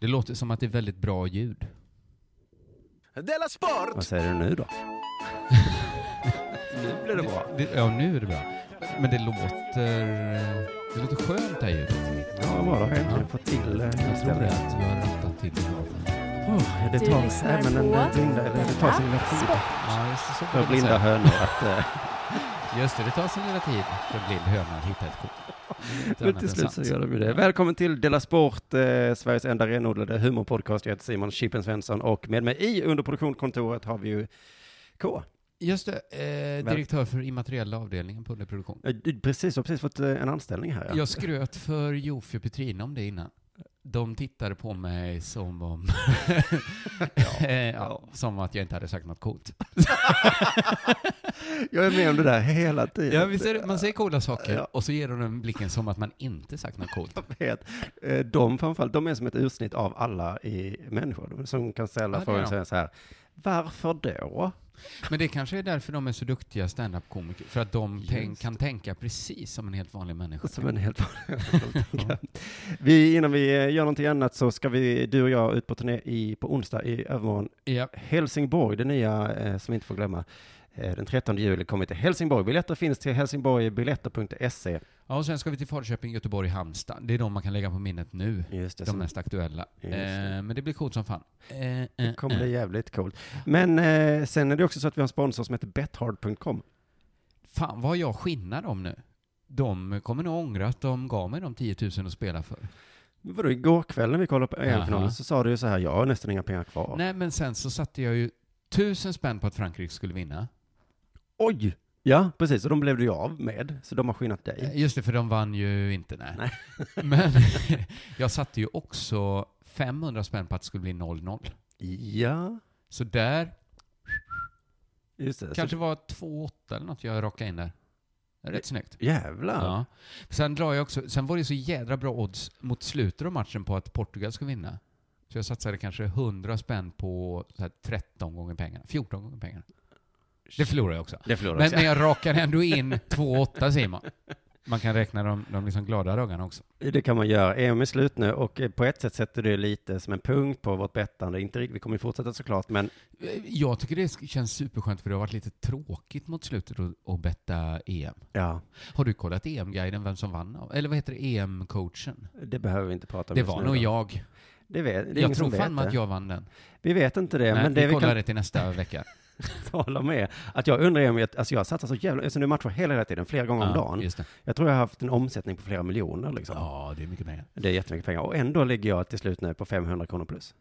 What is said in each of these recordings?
Det låter som att det är väldigt bra ljud. Della Sport! Vad säger du nu då? nu blir det bra. Det, ja, nu är det bra. Men det låter... eh, Det låter skönt det här ljudet. Ja, bara har äntligen fått till eh, Jag tror det stämningen. att vi har rattat till det. Åh, det. Du tar, lyssnar nej, men den, på Ah, den blinda, eller det tar sin lilla tid. Ja, just det, så får För man blinda säga. hönor att... eh, Just det, det tar sin lilla tid för en blind höna att hitta ett korn. Inte Men annat än till slut så sant. gör de ju det. Välkommen till Dela Sport, eh, Sveriges enda renodlade humorpodcast. Jag heter Simon Chippen Svensson och med mig i underproduktionskontoret har vi ju K. Just det, eh, direktör för immateriella avdelningen på underproduktion. Eh, du- Precis, har precis fått eh, en anställning här. Ja. Jag skröt för Jofi och Petrina om det innan. De tittade på mig som om... Eh, ja, ja, som att jag inte hade sagt något coolt. Jag är med om det där hela tiden. Ja, visst är det, man säger coola saker Ja. och så ger de den blicken som att man inte sagt något coolt. vet. Eh, De framförallt, de är som ett ursnitt av alla i människor De som kan ställa Ja, det är frågan de. så här- så här. Varför då? Men det kanske är därför de är så duktiga standup-komiker, för att de tänk, Just kan tänka precis som en helt vanlig människa. Som en helt vanlig Vi Innan vi eh, gör någonting annat så ska vi, du och jag, ut på turné i, på onsdag i övermorgon. Ja, Helsingborg, det nya eh, som vi inte får glömma. Eh, den 13 juli kommer vi till Helsingborg. Biljetter finns till helsingborgbiljetter.se. Ja, och sen ska vi till Falköping, Göteborg, Halmstad. Det är de man kan lägga på minnet nu. Just det, De som mest aktuella. Just det. Eh, men det blir coolt som fan. Eh, eh, kommer eh. bli jävligt coolt. Men eh, sen är det också så att vi har en sponsor som heter bethard.com. Fan vad jag skinnar dem nu. De kommer nog ångra att de gav mig de 10 000 att spela för. Vadå, igår kväll när vi kollade på Jaha. EM-finalen så sa du ju så här, jag har nästan inga pengar kvar. Nej, men sen så satte jag ju tusen spänn på att Frankrike skulle vinna. Oj! Ja, precis, och de blev du ju av med, så de har skinnat dig. Eh, Just det, för de vann ju inte. Nej. Nej. Men jag satte ju också 500 spänn på att det skulle bli 0-0. Ja, Så där just det. kanske Så, var 2-8 eller något jag rockade in där. Rätt snyggt. jävlar! Ja. Sen, drar jag också, sen var det så jädra bra odds mot slutet av matchen på att Portugal skulle vinna. Så jag satsade kanske 100 spänn på så här 13 gånger pengarna, 14 gånger pengarna. Det förlorade jag också. Det förlorade Men, men jag. jag rakade ändå in 2-8 säger man. Man kan räkna de, de liksom glada dagarna också. Det kan man göra. EM är slut nu och eh, på ett sätt sätter du lite som en punkt på vårt bettande. Inte riktigt, vi kommer ju fortsätta såklart, men Eh, Jag tycker det sk- känns superskönt för det har varit lite tråkigt mot slutet att- att betta EM. ja, Har du kollat EM-guiden, vem som vann? Eller vad heter det, EM-coachen? det behöver vi inte prata om Det just var nu nog då. jag. Det vet, det är ingen Jag tror som vet fan med det. att jag vann den. Vi vet inte det, Nej, men vi det vi kollar kan det till nästa vecka. tala med är att jag undrar om jag, alltså jag satsar så jävla, alltså nu matchar hela, hela tiden, flera gånger om dagen. Just det. Jag tror jag har haft en omsättning på flera miljoner liksom. Ja, det är mycket pengar. Det är jättemycket pengar. Och ändå ligger jag till slut nu på 500 kronor plus.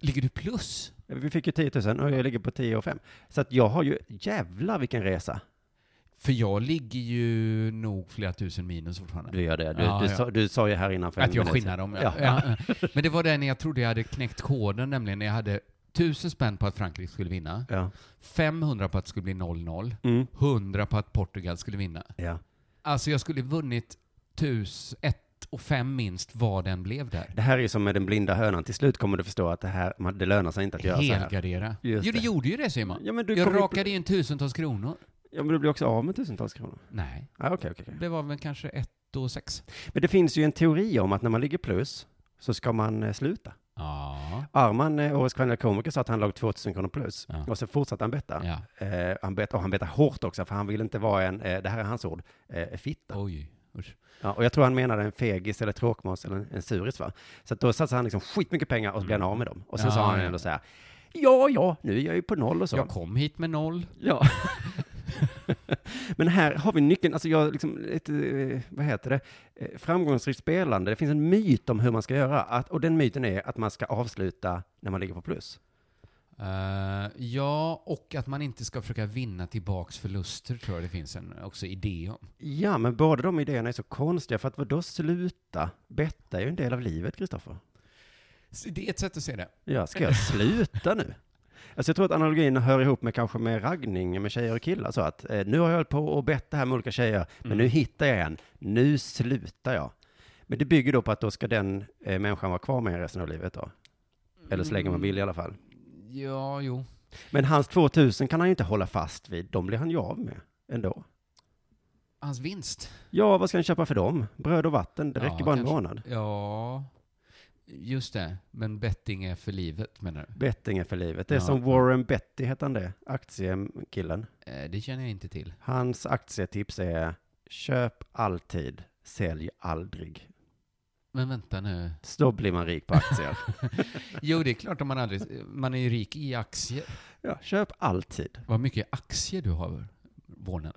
Ligger du plus? Vi fick ju 10 000 och jag ligger på 10 och 5. Så att jag har ju, jävlar vilken resa. För jag ligger ju nog flera tusen minus fortfarande. Du gör det. Du, Ja, du, ja. Sa, du sa ju här innan för en Att jag minut sedan. skinnar dem, ja. Ja. Ja. Men det var där när jag trodde jag hade knäckt koden, nämligen när jag hade tusen spänn på att Frankrike skulle vinna, Ja. 500 på att det skulle bli 0-0, Mm. 100 på att Portugal skulle vinna. ja. Alltså jag skulle vunnit tus, ett och fem minst vad den blev där. Det här är ju som med den blinda hönan. Till slut kommer du förstå att det här, man, det lönar sig inte att göra så här. Helgardera. Jo, Just du det. gjorde ju det Simon. Ja men, du Jag kommer ju- rakade in tusentals kronor. ja, men du blir också av med tusentals kronor. Nej, Ja, okej, okej. okej. det var väl kanske ett och sex. Men det finns ju en teori om att när man ligger plus så ska man eh, sluta. Ja. Arman, eh, årets kvinnliga komiker, sa att han låg 2000 kronor plus. Ja. Och så fortsatte han betta. ja. Eh, han bet, och han betade hårt också, för han ville inte vara en, eh, det här är hans ord, eh, fitta. Oj. Usch. Ja, och jag tror han menade en fegis eller tråkmåns eller en, en suris va? Så att då satsade han liksom skitmycket pengar och så blev han av med dem. Och sen Mm. Ja, sa han ja. ändå så här, ja, ja, nu är jag ju på noll och så. Jag kom hit med noll. Ja. Men här har vi nyckeln, alltså jag liksom, ett, eh, vad heter det, Eh, framgångsrikt spelande, det finns en myt om hur man ska göra, att, och den myten är att man ska avsluta när man ligger på plus. Eh, ja, och att man inte ska försöka vinna tillbaks förluster tror jag det finns en också idé om. Ja, men båda de idéerna är så konstiga, för att vadå sluta? Betta är ju en del av livet, Kristoffer. Så Det är ett sätt att se det. Ja, ska jag sluta nu? Alltså jag tror att analogin hör ihop med kanske med raggning med tjejer och killar, så att eh, nu har jag hållit på och bett här med olika tjejer, men nu hittar jag en, nu slutar jag. Men det bygger då på att då ska den eh, människan vara kvar med en resten av livet då. Eller så länge man vill i alla fall. Ja, jo. Men hans 2000 kan han ju inte hålla fast vid, de blir han ju av med ändå. Hans vinst. Ja, vad ska han köpa för dem? Bröd och vatten, det Ja, räcker bara en kanske. månad. Ja. Just det, men betting är för livet menar du? Betting är för livet. Det är Ja. som Warren Betty, heter han det? Aktiekillen. Eh, det känner jag inte till. Hans aktietips är köp alltid, sälj aldrig. Men vänta nu. Så då blir man rik på aktier. Jo, det är klart om man aldrig... Man är ju rik i aktier. ja, köp alltid. Vad mycket aktier du har, Warner.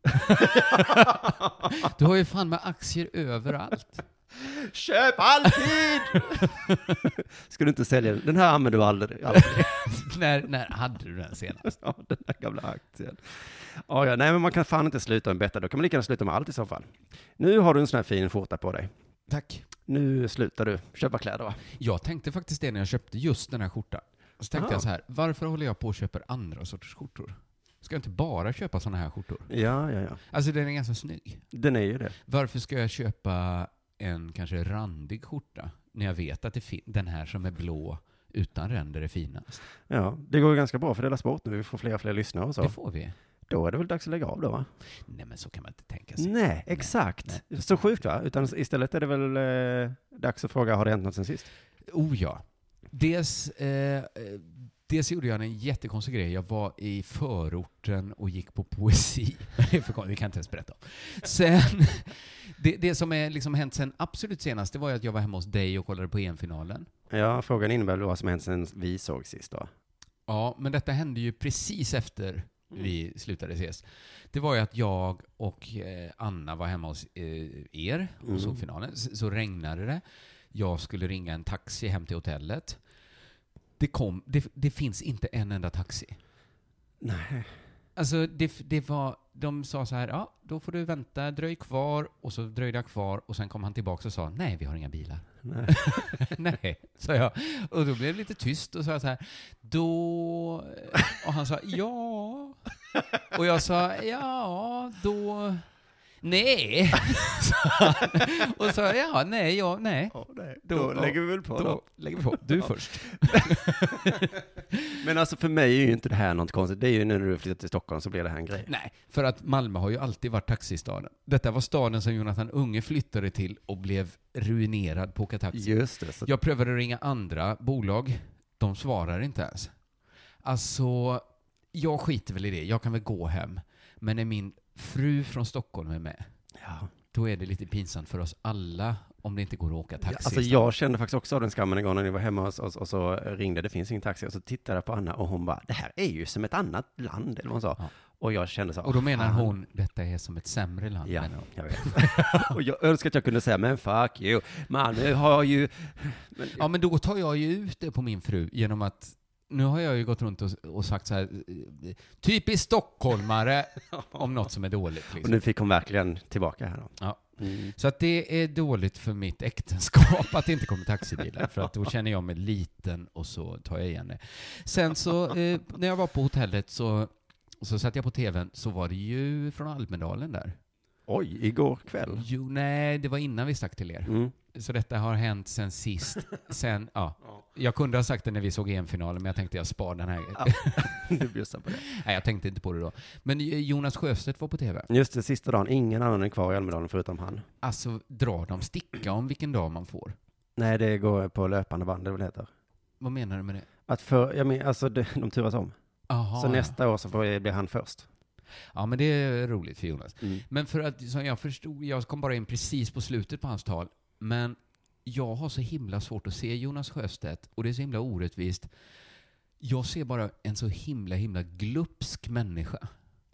Du har ju fan med aktier överallt. Köp alltid! Ska du inte sälja den? Den här använder du aldrig. aldrig. när, när hade du den senast? Ja, den här gamla aktien. Ja, ja, nej, men man kan fan inte sluta med betta. Då kan man lika gärna sluta med allt i så fall. Nu har du en sån här fin skjorta på dig. Tack. Nu slutar du köpa kläder, va? Jag tänkte faktiskt det när jag köpte just den här skjortan. Så tänkte Ah. jag så här, varför håller jag på och köper andra sorters skjortor? Ska jag inte bara köpa sådana här skjortor? Ja, ja, ja. Alltså den är ganska snygg. Den är ju det. Varför ska jag köpa en kanske randig skjorta när jag vet att det fin- den här som är blå utan ränder är finast? Ja, det går ju ganska bra för Dela Sport nu. Vi får fler och fler lyssnare och så. Det får vi. Då är det väl dags att lägga av då, va? Nej men så kan man inte tänka sig. Nej, exakt. Så sjukt, va? Utan istället är det väl eh, dags att fråga, har det hänt något sen sist? Oh ja. Dels, eh, eh, dels gjorde jag en jättekonstig grej. Jag var i förorten och gick på poesi. Det är för konstigt, det kan jag inte ens berätta om. Sen, det, det som är liksom hänt sen absolut senast, det var ju att jag var hemma hos dig och kollade på EM-finalen. Ja, frågan innebär väl vad som hänt sen vi såg sist då? Ja, men detta hände ju precis efter Mm. vi slutade ses. Det var ju att jag och eh, Anna var hemma hos eh, er och Mm. såg finalen. S- Så regnade det. Jag skulle ringa en taxi hem till hotellet. Det, kom, det, det finns inte en enda taxi. Nej. Alltså, det, f- det var, de sa så här, ja, då får du vänta, dröj kvar. Och så dröjde jag kvar och sen kom han tillbaka och sa, nej, vi har inga bilar. Nej. Nej, sa jag. Och då blev det lite tyst och sa så här, då... Och han sa ja. Och jag sa ja, då... Nej, sa han. Och sa ja, nej, ja, nej. Då, lägger vi väl på Då då. lägger vi på. Du först. Men alltså för mig är ju inte det här något konstigt. Det är ju nu när du flyttat till Stockholm så blir det här en grej. Nej, för att Malmö har ju alltid varit taxistaden. Detta var staden som Jonathan Unge flyttade till och blev ruinerad på att åka taxi. Just det. Så, Jag prövade att ringa andra bolag. De svarar inte ens. Alltså, jag skiter väl i det. Jag kan väl gå hem. Men när min fru från Stockholm är med, ja. då är det lite pinsamt för oss alla om det inte går att åka taxi. Alltså jag kände faktiskt också av den skammen en gång när ni var hemma hos oss och så ringde, det finns ingen taxi, och så tittade jag på Anna och hon bara, det här är ju som ett annat land, eller vad hon sa. Ja. Och jag kände så, Och då menar "Fan." hon, detta är som ett sämre land. Ja, menar hon. jag vet. och jag önskar att jag kunde säga, men fuck you, Malmö har ju... Men, ja, men då tar jag ju ut det på min fru genom att nu har jag ju gått runt och, och sagt så här, eh, typiskt stockholmare om något som är dåligt. Och Liksom. nu fick hon verkligen tillbaka här då. Ja. Mm. Så att det är dåligt för mitt äktenskap att det inte kommer taxibilar, för att då känner jag mig liten och så tar jag igen det. Sen så, eh, när jag var på hotellet så, så satt jag på tvn, så var det ju från Almedalen där. Oj, igår kväll. Jo, nej, det var innan vi stack till er. Mm. Så detta har hänt sen sist. Sen, ja. Jag kunde ha sagt det när vi såg EM-finalen, men jag tänkte jag spar den här. Du bjussar på det. Nej, jag tänkte inte på det då. Men eh, Jonas Sjöstedt var på tv. Just det, sista dagen. Ingen annan är kvar i Almedalen förutom han. Alltså, drar de sticka om vilken dag man får? Nej, det går på löpande band, det väl heter. Vad menar du med det? Att för, jag men, alltså det, de turas om. Aha, så ja. nästa år så får, blir han först. Ja, men det är roligt för Jonas. Mm. Men för att, som jag förstod, jag kom bara in precis på slutet på hans tal, men jag har så himla svårt att se Jonas Sjöstedt, och det är så himla orättvist. Jag ser bara en så himla, himla glupsk människa.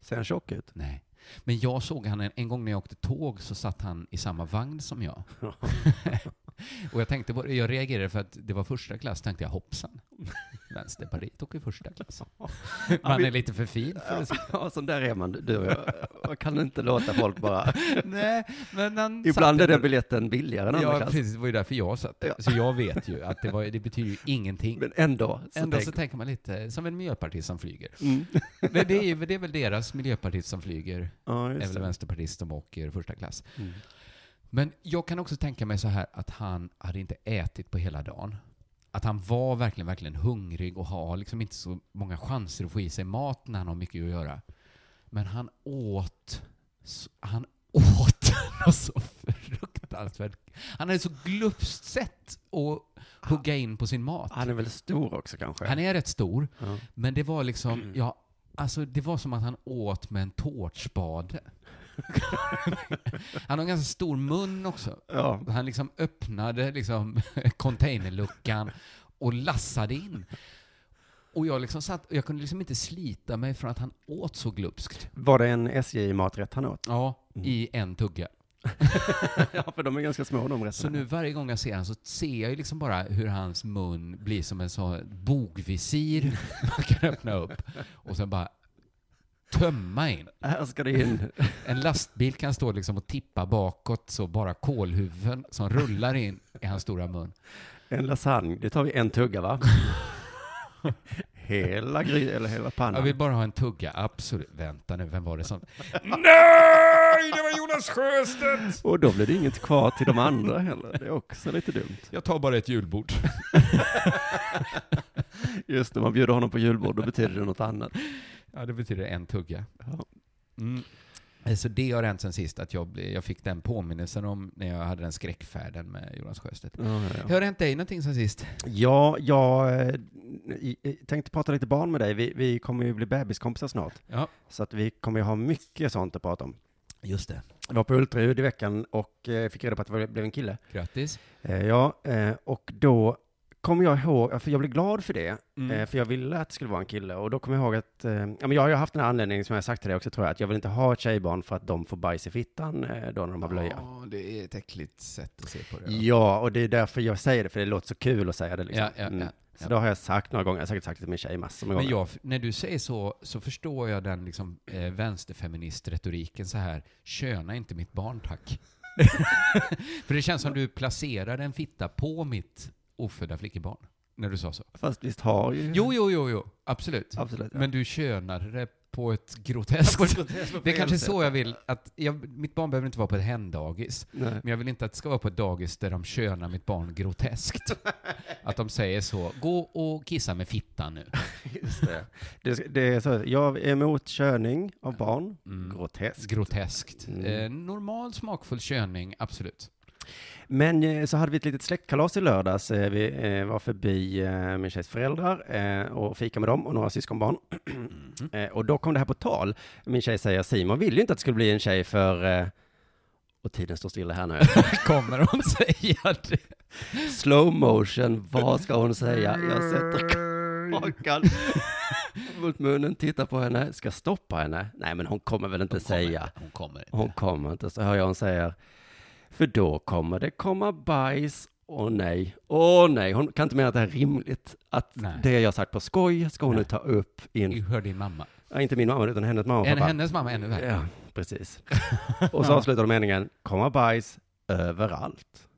Ser han tjock ut? Nej. Men jag såg han en, en gång när jag åkte tåg så satt han i samma vagn som jag. och jag tänkte på det, jag reagerade för att det var första klass, tänkte jag hoppsan. Vänsterpartiet åker första klass. Man är lite för fin för att se. Ja, sån där är man, du och jag. Man kan inte låta folk bara... Nej, men han Ibland satt är den ändå- biljetten billigare än andra Ja, klass. precis. Det var ju därför jag satt där. Så jag vet ju att det, var, det betyder ju ingenting. Men ändå. Så Ändå så tänk, Mm. tänker man lite som en miljöpartist som flyger. Men det, är, ju- det är väl deras miljöpartist som flyger, ja, är just väl det. vänsterpartist som åker första klass. Mm. Men jag kan också tänka mig så här att han hade inte ätit på hela dagen. Att han var verkligen, verkligen hungrig och har liksom inte så många chanser att få i sig mat när han har mycket att göra. Men han åt, s- han åt något så fruktansvärt. Alsvärd. Han hade så glupskt sätt att hugga in på sin mat. Han är väl stor också kanske? Han är rätt stor, Ja. Mm. men det var liksom, ja, alltså det var som att han åt med en tårtspade. han har en ganska stor mun också. Ja. Han liksom öppnade liksom containerluckan och lassade in. Och jag liksom satt, jag kunde liksom inte slita mig från att han åt så glupskt. Var det en SJ-maträtt han åt? Ja, i en tugga. Ja, för de är ganska små de Så nu varje gång jag ser han så ser jag ju liksom bara hur hans mun blir som en sån bogvisir man kan öppna upp och sen bara tömma in. Här ska det in. En lastbil kan stå liksom och tippa bakåt så bara kolhuvuden som rullar in i hans stora mun. En lasagne, det tar vi en tugga va? hela gry, eller hela Jag pannan. vill bara ha en tugga, absolut. Vänta nu, vem var det som... Nej, det var Jonas Sjöstedt! Och då blir det inget kvar till de andra heller. Det är också lite dumt. Jag tar bara ett julbord. Just när man bjuder honom på julbord, då betyder det något annat. Ja, det betyder en tugga. Ja. Mm. Eh, Så det har hänt sen sist, att jag, blev- jag fick den påminnelsen om när jag hade den skräckfärden med Jonas Sjöstedt. Ja, ja, ja. Har det hänt dig någonting sen sist? Ja, jag eh, i- i- tänkte prata lite barn med dig. Vi, vi kommer ju bli bebiskompisar snart, Ja, så att vi kommer ju ha mycket sånt att prata om. just det. Jag var på ultraljud i veckan och eh, fick reda på att det blev en kille. Grattis. Eh, Ja, eh, och då kom jag ihåg, för jag blev glad för det, Mm. eh, för jag ville att det skulle vara en kille. Och då kom jag ihåg att, eh, ja men jag har ju haft den här anledningen som jag har sagt till dig också tror jag, att jag vill inte ha ett tjejbarn för att de får bajs i fittan eh, då när de har blöja. Ja, det är ett äckligt sätt att se på det. Ja, och det är därför jag säger det, för det låter så kul att säga det liksom. Ja, ja, Mm. ja, Så ja. det har jag sagt några gånger, jag har säkert sagt det till min tjej massor med Men gånger. jag, när du säger så, så förstår jag den liksom, eh, vänsterfeministretoriken så här, köna inte mitt barn tack. För det känns som du placerade en fitta på mitt ofödda flickebarn, när du sa så. Fast visst har ju... Jo, jo, jo, jo, Mm. absolut. Absolut. Ja. Men du könade det på ett groteskt... Det är kanske så jag vill, att jag, mitt barn behöver inte vara på ett hen-dagis. Nej. Men jag vill inte att det ska vara på ett dagis där de könar mitt barn groteskt. Att de säger så, gå och kissa med fittan nu. Just det. Det, det är så, jag är emot körning av barn, Mm. groteskt. groteskt. Mm. Eh, normal smakfull köning, absolut. Men eh, så hade vi ett litet släktkalas i lördags. Eh, Vi eh, var förbi eh, min tjejs föräldrar eh, och fika med dem och några syskonbarn. Eh, Och då kom det här på tal. Min tjej säger, Simon vill ju inte att det skulle bli en tjej för... eh," Och tiden står stilla här nu. Kommer hon säga det? Slow motion, vad ska hon säga? Jag sätter kakan mot munnen, tittar på henne, ska stoppa henne. Nej, men hon kommer väl inte säga. Hon kommer inte. Hon kommer inte, så hör jag hon säger. För då kommer det komma bajs. Åh nej, åh nej. Hon kan inte mena att det här är rimligt. Att Nej. det jag sagt på skoj ska hon nu ta upp Du in, hör din mamma. ja, inte min mamma utan hennes mamma och En, pappa. hennes mamma ännu värre. Ja, precis. Och så avslutar de meningen, komma bajs överallt.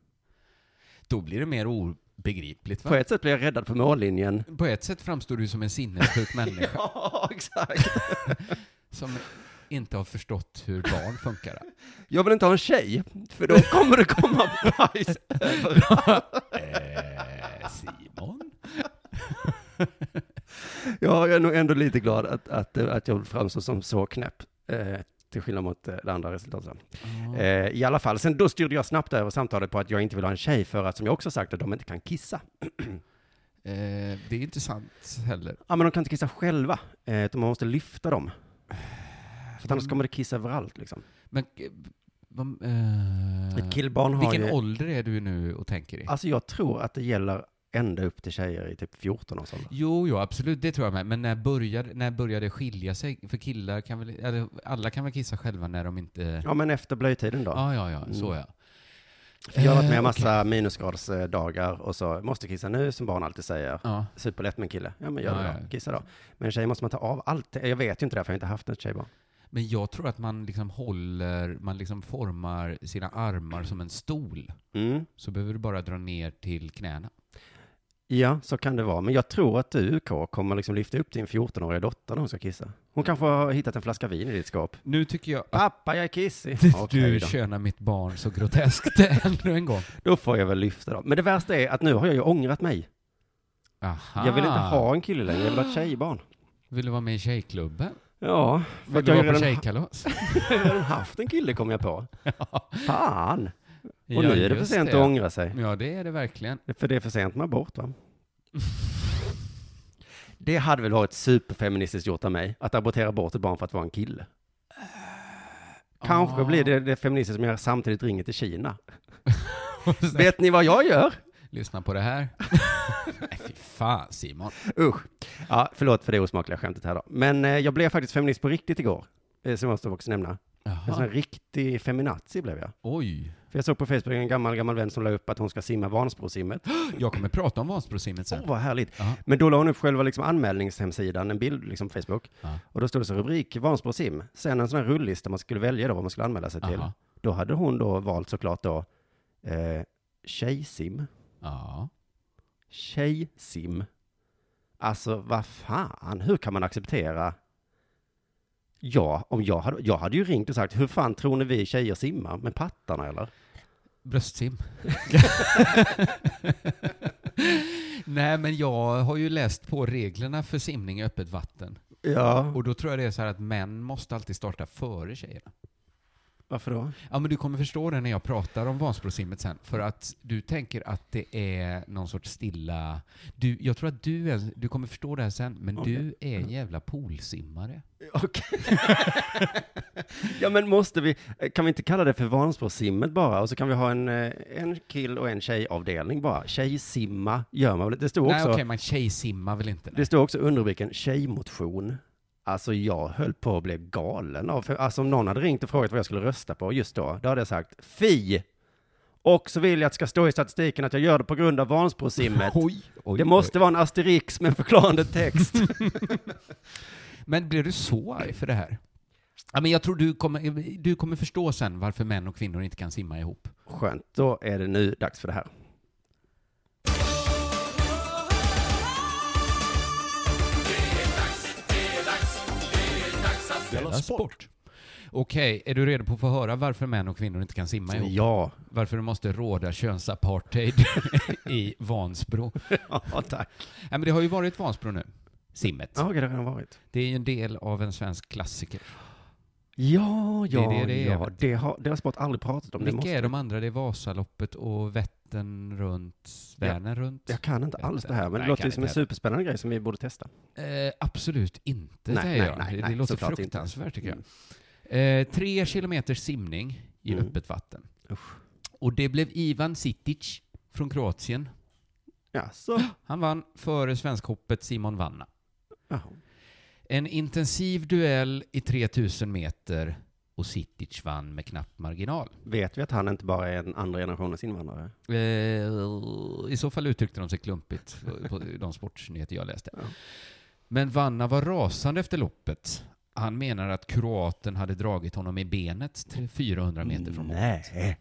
Då blir det mer obegripligt. På Va? ett sätt blir jag räddad på mållinjen. På ett sätt framstår du som en sinnessjuk människa Ja, exakt. som inte har förstått hur barn funkar. Jag vill inte ha en tjej, för då kommer det komma bajs överallt. Eh, Simon? Ja, jag är nog ändå lite glad att, att, eh, att jag framstår som så knäpp. Eh, till skillnad mot eh, det andra resultatet. Mm. Eh, I alla fall, sen då styrde jag snabbt över samtalet på att jag inte vill ha en tjej för att, som jag också sagt, att de inte kan kissa. Eh, det är inte sant heller. Ja, men de kan inte kissa själva, eh, utan man måste lyfta dem. För att Mm. annars kommer det kissa överallt liksom. Men, eh, vad- eh, Ett killbarn har vilken ju... ålder är du nu och tänker i? Alltså jag tror att det gäller ända upp till tjejer i typ 14 års ålder. Jo, jo, absolut, det tror jag med. Men när började, när började det skilja sig? För killar kan väl, eller alla kan väl kissa själva när de inte... Ja, men efter blöjtiden då. Ja, ja, ja, Mm. så ja. För jag har varit med Eh, en massa minusgradsdagar och så, måste kissa nu, som barn alltid säger. Ja. Superlätt med en kille. Ja, men gör Ja, det ja. då. Kissa då. Men tjej måste man ta av allt. Jag vet ju inte det, här, för jag har inte haft ett tjejbarn. Men jag tror att man liksom håller, man liksom formar sina armar som en stol. Mm. Så behöver du bara dra ner till knäna. Ja, så kan det vara. Men jag tror att du, K, kommer liksom lyfta upp din 14-åriga dotter när hon ska kissa. Hon kanske har hittat en flaska vin i ditt skåp. Nu tycker jag att Pappa, jag är kissig. du Ah, Okej då. könar mitt barn så groteskt ännu en gång. Då får jag väl lyfta dem. Men det värsta är att nu har jag ju ångrat mig. Aha. Jag vill inte ha en kille längre, jag vill ha ett tjejbarn. Vill du vara med i tjejklubben? Ja, för Vill att du jag har vara ju på redan, tjejkalas? jag har redan haft en kille kom jag på. Fan! Och nu är det för just sent det. att ångra sig. Ja, det är det verkligen. För det är för sent med abort, va? Det hade väl varit superfeministiskt gjort av mig, att abortera bort ett barn för att vara en kille. Kanske Ah. blir det det feministiska som jag samtidigt ringer till Kina. Och sen- Vet ni vad jag gör? Lyssna på det här. Nej, fy fan Simon. Usch. Ja, förlåt för det osmakliga skämtet här då. Men eh, jag blev faktiskt feminist på riktigt igår, eh, som jag måste också nämna. En sån Jaha. här riktig feminazi blev jag. Alltså, Oj. För jag såg på Facebook en gammal, gammal vän som la upp att hon ska simma Vansbrosimmet. Jag kommer prata om Vansbrosimmet Åh, sen. vad härligt. Ja. Men då la hon upp själva liksom anmälningshemsidan, en bild liksom på Facebook. Ja. Och då stod det så rubrik, Vansbro sim. Sen en sån här rullista man skulle välja då vad man skulle anmäla sig till. Aha. Då hade hon då valt såklart då eh, tjejsim. Ja. Tjejsim. Alltså vad fan, hur kan man acceptera? Ja, om jag hade, jag hade ju ringt och sagt, hur fan tror ni vi tjejer simmar med pattarna eller? Bröstsim. Nej, men jag har ju läst på reglerna för simning i öppet vatten. Ja, Och då tror jag det är så här att män måste alltid starta före tjejerna. varför då? Ja, men du kommer förstå det när jag pratar om Vansbrosimmet sen. För att du tänker att det är någon sorts stilla... Du, jag tror att du är, Du kommer förstå det här sen, men du är Mm. en jävla poolsimmare. Okej. ja men måste vi, kan vi inte kalla det för Vansbrosimmet bara? Och så kan vi ha en, eh, en kill och en tjejavdelning bara. Tjejsimma gör man väl? Det står Nej, också, okej, man tjejsimmar väl inte? det står också underrubriken tjejmotion. Alltså jag höll på att bli galen av, för, alltså om någon hade ringt och frågat vad jag skulle rösta på just då, då hade jag sagt FI! Och så vill jag att det ska stå i statistiken att jag gör det på grund av Vansbrosimmet. Oj, oj, Det måste vara en asterix med en förklarande text. oj. Men blir du så arg för det här? Ja, men jag tror du kommer, du kommer förstå sen varför män och kvinnor inte kan simma ihop. Skönt, då är det nu dags för det här. Della Sport. Okej, är du redo på att få höra varför män och kvinnor inte kan simma ihop? Ja, Varför det måste råda könsapartheid i Vansbro? ja tack. Nej, men det har ju varit Vansbro nu, simmet. Ja, okej, det har redan varit. Det är ju en del av en svensk klassiker. Ja, Det ja, är det det är. ja. Det har, det har Sport aldrig pratat om. Det Vilka måste, är de andra? Det är Vasaloppet och Vättern runt, Vänern runt? jag kan inte alls det här, men Nej, det kan låter ju som en inte heller. superspännande grej som vi borde testa. Eh, absolut inte, Nej, säger nej, jag. nej, det nej, låter såklart inte. fruktansvärt, tycker jag. Eh, tre kilometers simning i Mm. öppet vatten. Usch. Och det blev Ivan Sitic från Kroatien. Ja, så. Han vann före svenskhoppet Simon Vanna. Jaha. En intensiv duell i 3000 meter och Sitic vann med knapp marginal. Vet vi att han inte bara är en andra generationens invandrare? Eh, I så fall uttryckte de sig klumpigt på de sportsnyheter jag läste. Ja. Men Vanna var rasande efter loppet. Han menar att kroaten hade dragit honom i benet tre- 400 meter från målet. Nej.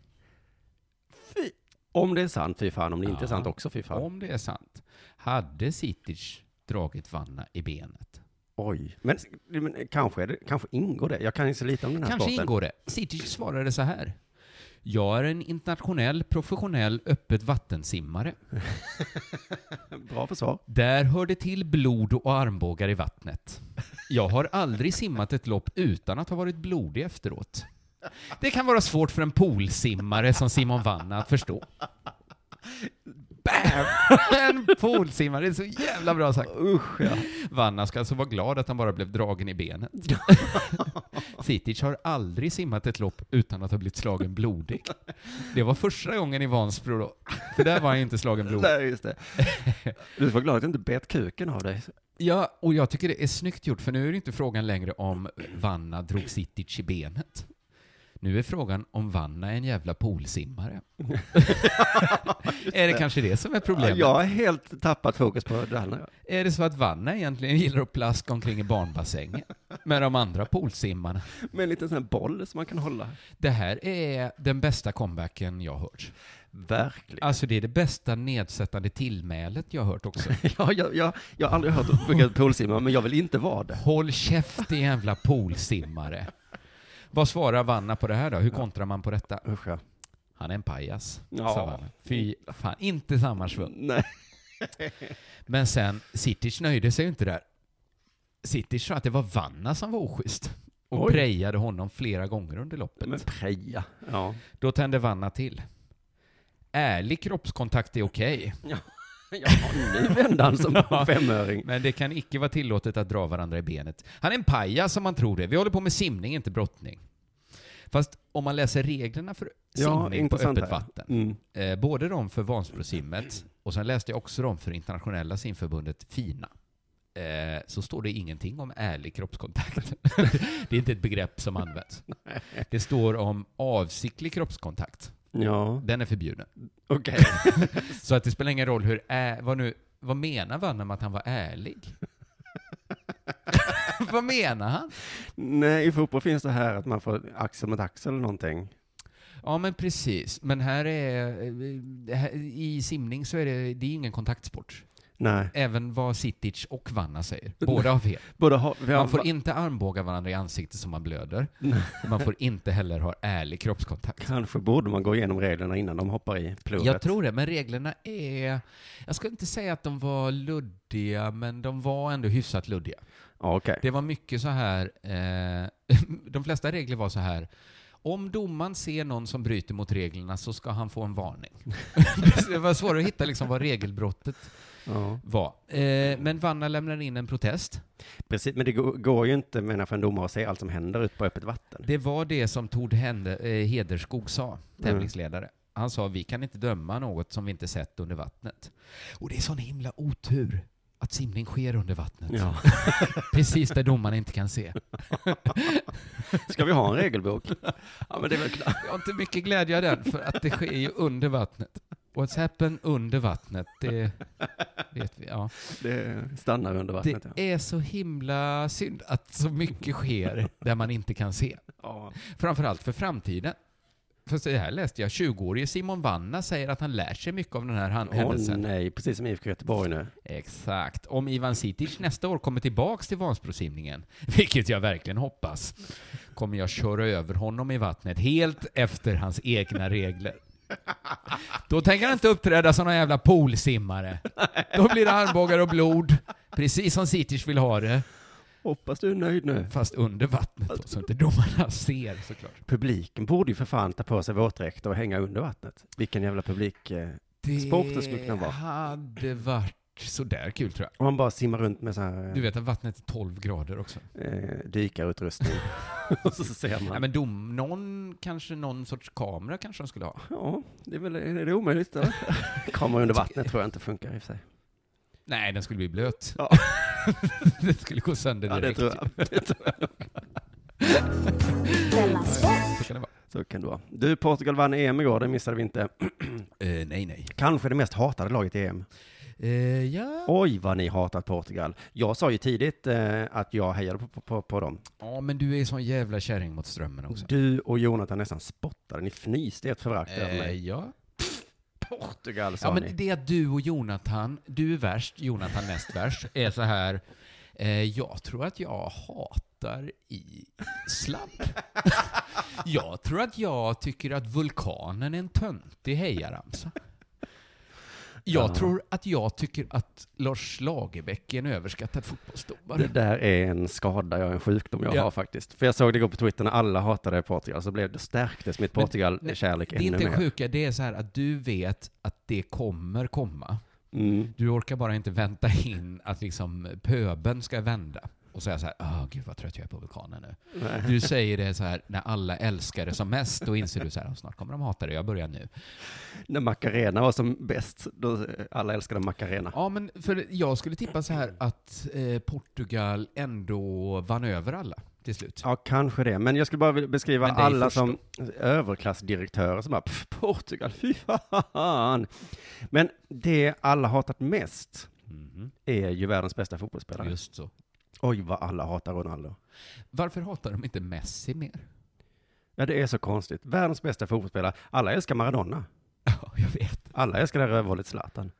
Fy. Om det är sant, fy fan. Om det inte är Ja. sant också, fy fan. Om det är sant, hade Sitic dragit Vanna i benet? Oj. Men, men kanske, är det, kanske ingår det. Jag kan ju så lite om den här Kanske sporten. ingår det. Sitic svarade så här. Jag är en internationell, professionell, öppet vattensimmare. Bra försvar. Där hör det till blod och armbågar i vattnet. Jag har aldrig simmat ett lopp utan att ha varit blodig efteråt. Det kan vara svårt för en poolsimmare som Simon Vanna att förstå. Bam! En poolsimmare, det är så jävla bra sagt. Usch, ja. Vanna ska alltså vara glad att han bara blev dragen i benet. Sitic har aldrig simmat ett lopp utan att ha blivit slagen blodig. Det var första gången i Vansbro då, för där var han inte slagen blodig. Nej, just det. Du får vara glad att du inte bet kuken av dig. Ja, och jag tycker det är snyggt gjort, för nu är det inte frågan längre om Vanna drog Sitic i benet. Nu är frågan om Vanna är en jävla poolsimmare. är det kanske det som är problemet? Jag har helt tappat fokus på det andra. Är det så att Vanna egentligen gillar att plaska omkring i barnbassängen med de andra poolsimmarna? Med en liten sån här boll som man kan hålla. Det här är den bästa comebacken jag har hört. Verkligen. Alltså det är det bästa nedsättande tillmälet jag har hört också. Ja, jag, jag, jag har aldrig hört begreppet poolsimma, men jag vill inte vara det. Håll käft din jävla poolsimmare. Vad svarar Vanna på det här då? Hur kontrar man på detta? Usch ja. Han är en pajas, Ja. Mm. sa han. Fy fan, inte samma svung. Nej. Men sen, Sitic nöjde sig ju inte där. Sitic sa att det var Vanna som var oschysst och Oj. prejade honom flera gånger under loppet. Men preja. Ja. Då tände Vanna till. ärlig kroppskontakt är okej, Ja, nu vände han som en femöring. men det kan icke vara tillåtet att dra varandra i benet. Han är en pajas som man tror det. Vi håller på med simning, inte brottning. Fast om man läser reglerna för Ja, simning på intressant. öppet här. vatten, Mm. eh, både de för Vansbrosimmet och sen läste jag också de för Internationella simförbundet FINA. Eh, så står det ingenting om ärlig kroppskontakt. det är inte ett begrepp som används. Det står om avsiktlig kroppskontakt. Ja, Den är förbjuden. okej. Så att det spelar ingen roll hur ä- vad nu, vad menar Vanna med att han var ärlig? vad menar han? Nej, i fotboll finns det här att man får axel mot axel eller någonting. Ja men precis, men här är, eh, det här- i simning så är det, det är ingen kontaktsport. Nej, Även vad Sitic och Vanna säger, båda har fel. både ha, vi har, Man får inte armbåga varandra i ansiktet så man blöder. Man får inte heller ha ärlig kroppskontakt. kanske borde man gå igenom reglerna innan de hoppar i plovet. Jag tror det, men reglerna är... Jag skulle inte säga att de var luddiga, men de var ändå hyfsat luddiga. Ja, okej. Det var mycket så här, eh, de flesta regler var så här, om domaren ser någon som bryter mot reglerna så ska han få en varning. det var svårare att hitta liksom vad regelbrottet Ja. var. Eh, men Vanna lämnar in en protest. Precis, men det går, går ju inte menar jag, för en domare att se allt som händer ute på öppet vatten. Det var det som Tord Hände, eh, Hederskog sa, tävlingsledare. Han sa vi kan inte döma något som vi inte sett under vattnet. Och det är sån himla otur att simning sker under vattnet. Ja. Precis där domaren inte kan se. Ska vi ha en regelbok? ja, men det är väl klart. Jag har inte mycket glädje av den, för att det sker ju under vattnet. What's happened under vattnet, det vet vi. Ja. Det stannar under vattnet. Det ja. är så himla synd att så mycket sker där man inte kan se. Ja. Framförallt för framtiden. För det här läste jag, 20-årige Simon Vanna säger att han lär sig mycket av den här han- Åh händelsen. nej, precis som IFK Göteborg nu. Exakt. Om Ivan Sitic nästa år kommer tillbaks till Vansbrosimningen, vilket jag verkligen hoppas, kommer jag köra över honom i vattnet helt efter hans egna regler. Då tänker han inte uppträda som någon jävla poolsimmare. Då blir det armbågar och blod, precis som Sitic vill ha det, Hoppas du är nöjd nu. fast under vattnet då, så inte domarna ser såklart. Publiken borde ju för fan ta på sig våtdräkter och hänga under vattnet. Vilken jävla publik. eh. Sport det skulle kunna vara. hade varit sådär kul tror jag. Om man bara simmar runt med så här eh, Du vet att vattnet är 12 grader också. eh, dykarutrustning. och så ser man. Nej, men dom, någon, kanske någon sorts kamera kanske de skulle ha. Ja, det är väl är det omöjligt. Eller? Kameror under vattnet tror jag inte funkar i och för sig. Nej, den skulle bli blöt. Ja. den skulle gå sönder Ja, det direkt. tror jag. Det tror jag. Della Sport! Så kan det vara. Så kan det vara. Du, Portugal vann EM igår, det missade vi inte. Eh, nej, nej. Kanske det mest hatade laget i EM. Eh, ja. Oj, vad ni hatat Portugal. Jag sa ju tidigt eh, att jag hejade på, på, på dem. ja, men du är sån jävla kärring mot strömmen också. Du och Jonathan nästan spottade, ni fnyste ert förakt över Eh, mig. ja. Portugal sa ja, ni. men det att du och Jonathan, du är värst, Jonathan näst värst, är så här. Eh, jag tror att jag hatar Island. jag tror att jag tycker att vulkanen är en töntig hejaramsa. Jag Ja. tror att jag tycker att Lars Lagerbäck är en överskattad fotbollsdomare. Det där är en skada, jag en sjukdom jag Ja. har faktiskt. För jag såg det gå på Twitter när alla hatade Portugal, så blev det, stärktes mitt Men- Portugal-kärlek Det är ännu inte mer. sjuka, det är så här att du vet att det kommer komma. Mm. Du orkar bara inte vänta in att liksom pöben ska vända och säga så här, åh gud vad trött jag är på vulkanen nu. Du säger det så här när alla älskar det som mest, då inser du så här, "Ah, snart kommer de hata det, jag börjar nu. När Macarena var som bäst, då eh, alla älskade Macarena. Ja men för jag skulle tippa så här att eh, Portugal ändå vann över alla till slut. Ja, kanske det. Men jag skulle bara vilja beskriva Men det är alla först som överklassdirektörer som bara, "Pff, Portugal, fy fan. Men det alla hatat mest Mhm, är ju världens bästa fotbollsspelare. Just så. Oj, vad alla hatar Ronaldo. Varför hatar de inte Messi mer? Ja, det är så konstigt. Världens bästa fotbollsspelare. Alla älskar Maradona. Ja, jag vet. Alla älskar det här rövhålet Zlatan.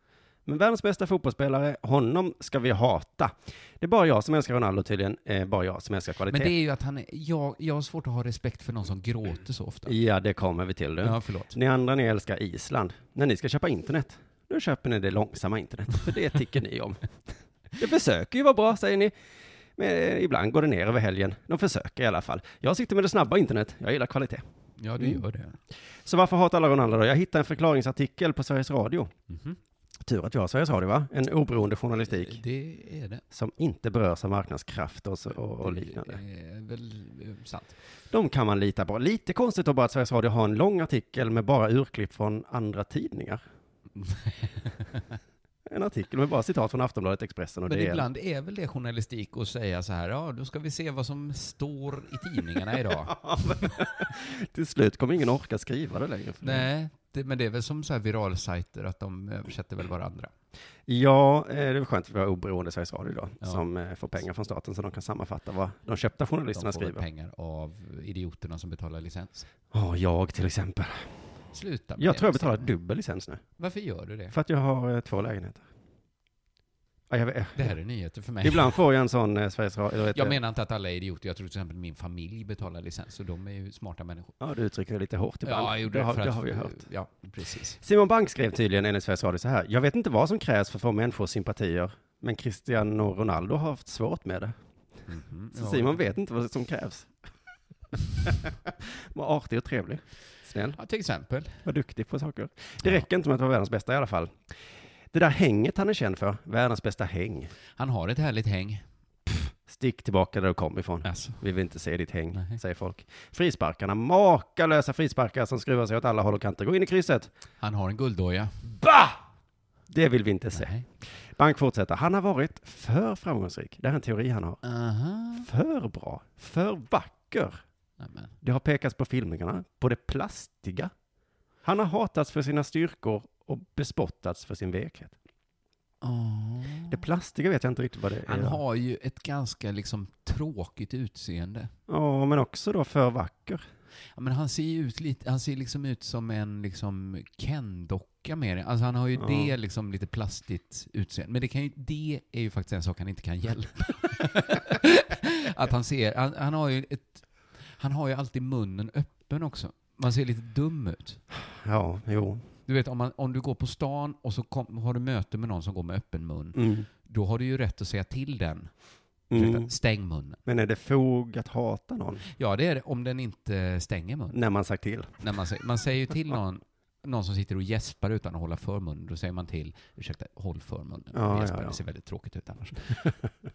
Men världens bästa fotbollsspelare, honom ska vi hata. Det är bara jag som älskar Ronaldo tydligen, eh, bara jag som älskar kvalitet. Men det är ju att han, är- jag, jag har svårt att ha respekt för någon som gråter så ofta. Ja, det kommer vi till du. Ja, förlåt. Ni andra, ni älskar Island. När ni ska köpa internet, då köper ni det långsamma internet, för det tycker ni om. Det försöker ju vara bra, säger ni. Men eh, ibland går det ner över helgen. De försöker i alla fall. Jag sitter med det snabba internet. Jag gillar kvalitet. Ja, det Mm. gör det. Så varför hatar alla Ronaldo då? Jag hittade en förklaringsartikel på Sveriges Radio. Mhm. Tur att vi har Sveriges Radio, va? En oberoende journalistik Det är det. som inte berörs av marknadskraft och, så, och, och liknande. Det är väl eh, sant. De kan man lita på. Lite konstigt då bara att Sveriges Radio har en lång artikel med bara urklipp från andra tidningar. en artikel med bara citat från Aftonbladet, Expressen och Men DN. ibland är väl det journalistik att säga så här, ja, då ska vi se vad som står i tidningarna Mm. idag. Till slut kommer ingen orka skriva det längre. Nej, det, men det är väl som så här viralsajter, att de översätter väl varandra. Ja, eh, det är väl skönt att vi har oberoende Sveriges Radio idag, Ja. som eh, får pengar från staten så de kan sammanfatta vad de köpta journalisterna De får väl skriver. pengar av idioterna som betalar licens. Ja, jag till exempel. Sluta med Jag det, tror jag Stefan. betalar dubbel licens nu, Varför gör du det? för att jag har eh, två lägenheter. Ja, jag vet, eh, Det här är nyheter för mig. Ibland får jag en sån eh, Sveriges Radio, eller vet Jag jag- menar inte att alla är idioter. Jag tror till exempel min familj betalar licens, och de är ju smarta människor. Ja, du uttrycker det lite hårt ibland. Ja, jag gjorde Typ det, har, för det att- har vi hört. Ja, precis. Simon Bank skrev tydligen enligt Sveriges Radio så här. Jag vet inte vad som krävs för att få människors sympatier, men Cristiano Ronaldo har haft svårt med det. Mhm. Så Ja. Simon vet inte vad som krävs. Var artig och trevlig. Snäll. Ja, till exempel. Var duktig på saker. Det Ja. räcker inte med att vara världens bästa i alla fall. Det där hänget han är känd för, världens bästa häng. Han har ett härligt häng. Stick tillbaka där du kom ifrån. Alltså. Vi vill inte se ditt häng, Nej. säger folk. Frisparkarna, makalösa frisparkar som skruvar sig åt alla håll och kanter. Gå in i krysset. Han har en gulddoja. Bah! Det vill vi inte se. Nej. Bank fortsätter. Han har varit för framgångsrik. Det här är en teori han har. Aha. För bra. För vacker. Nämen. Det har pekats på filmningarna, på det plastiga. Han har hatats för sina styrkor och bespottats för sin vekhet. Åh. Det plastiga vet jag inte riktigt vad det Han är. har ju ett ganska liksom tråkigt utseende. Ja, men också då för vacker. Ja, men han ser ju ut lite, han ser liksom ut som en liksom Ken-docka mer. Alltså han har ju Ja. det liksom lite plastigt utseende. Men det, kan ju, det är ju faktiskt en sak han inte kan hjälpa. att han ser, han, han har ju ett, han har ju alltid munnen öppen också. Man ser lite dum ut. Ja, jo. Du vet om, man, om du går på stan och så kom, har du möte med någon som går med öppen mun, Mm. då har du ju rätt att säga till den. Mm. Stäng munnen. Men är det fog att hata någon Ja, det är det om den inte stänger munnen. när man sagt till? när man, säger, man säger ju till någon, någon som sitter och gäspar utan att hålla för munnen, då säger man till, ursäkta, håll för munnen. Ja, gäspar, ja, ja. det ser väldigt tråkigt ut annars.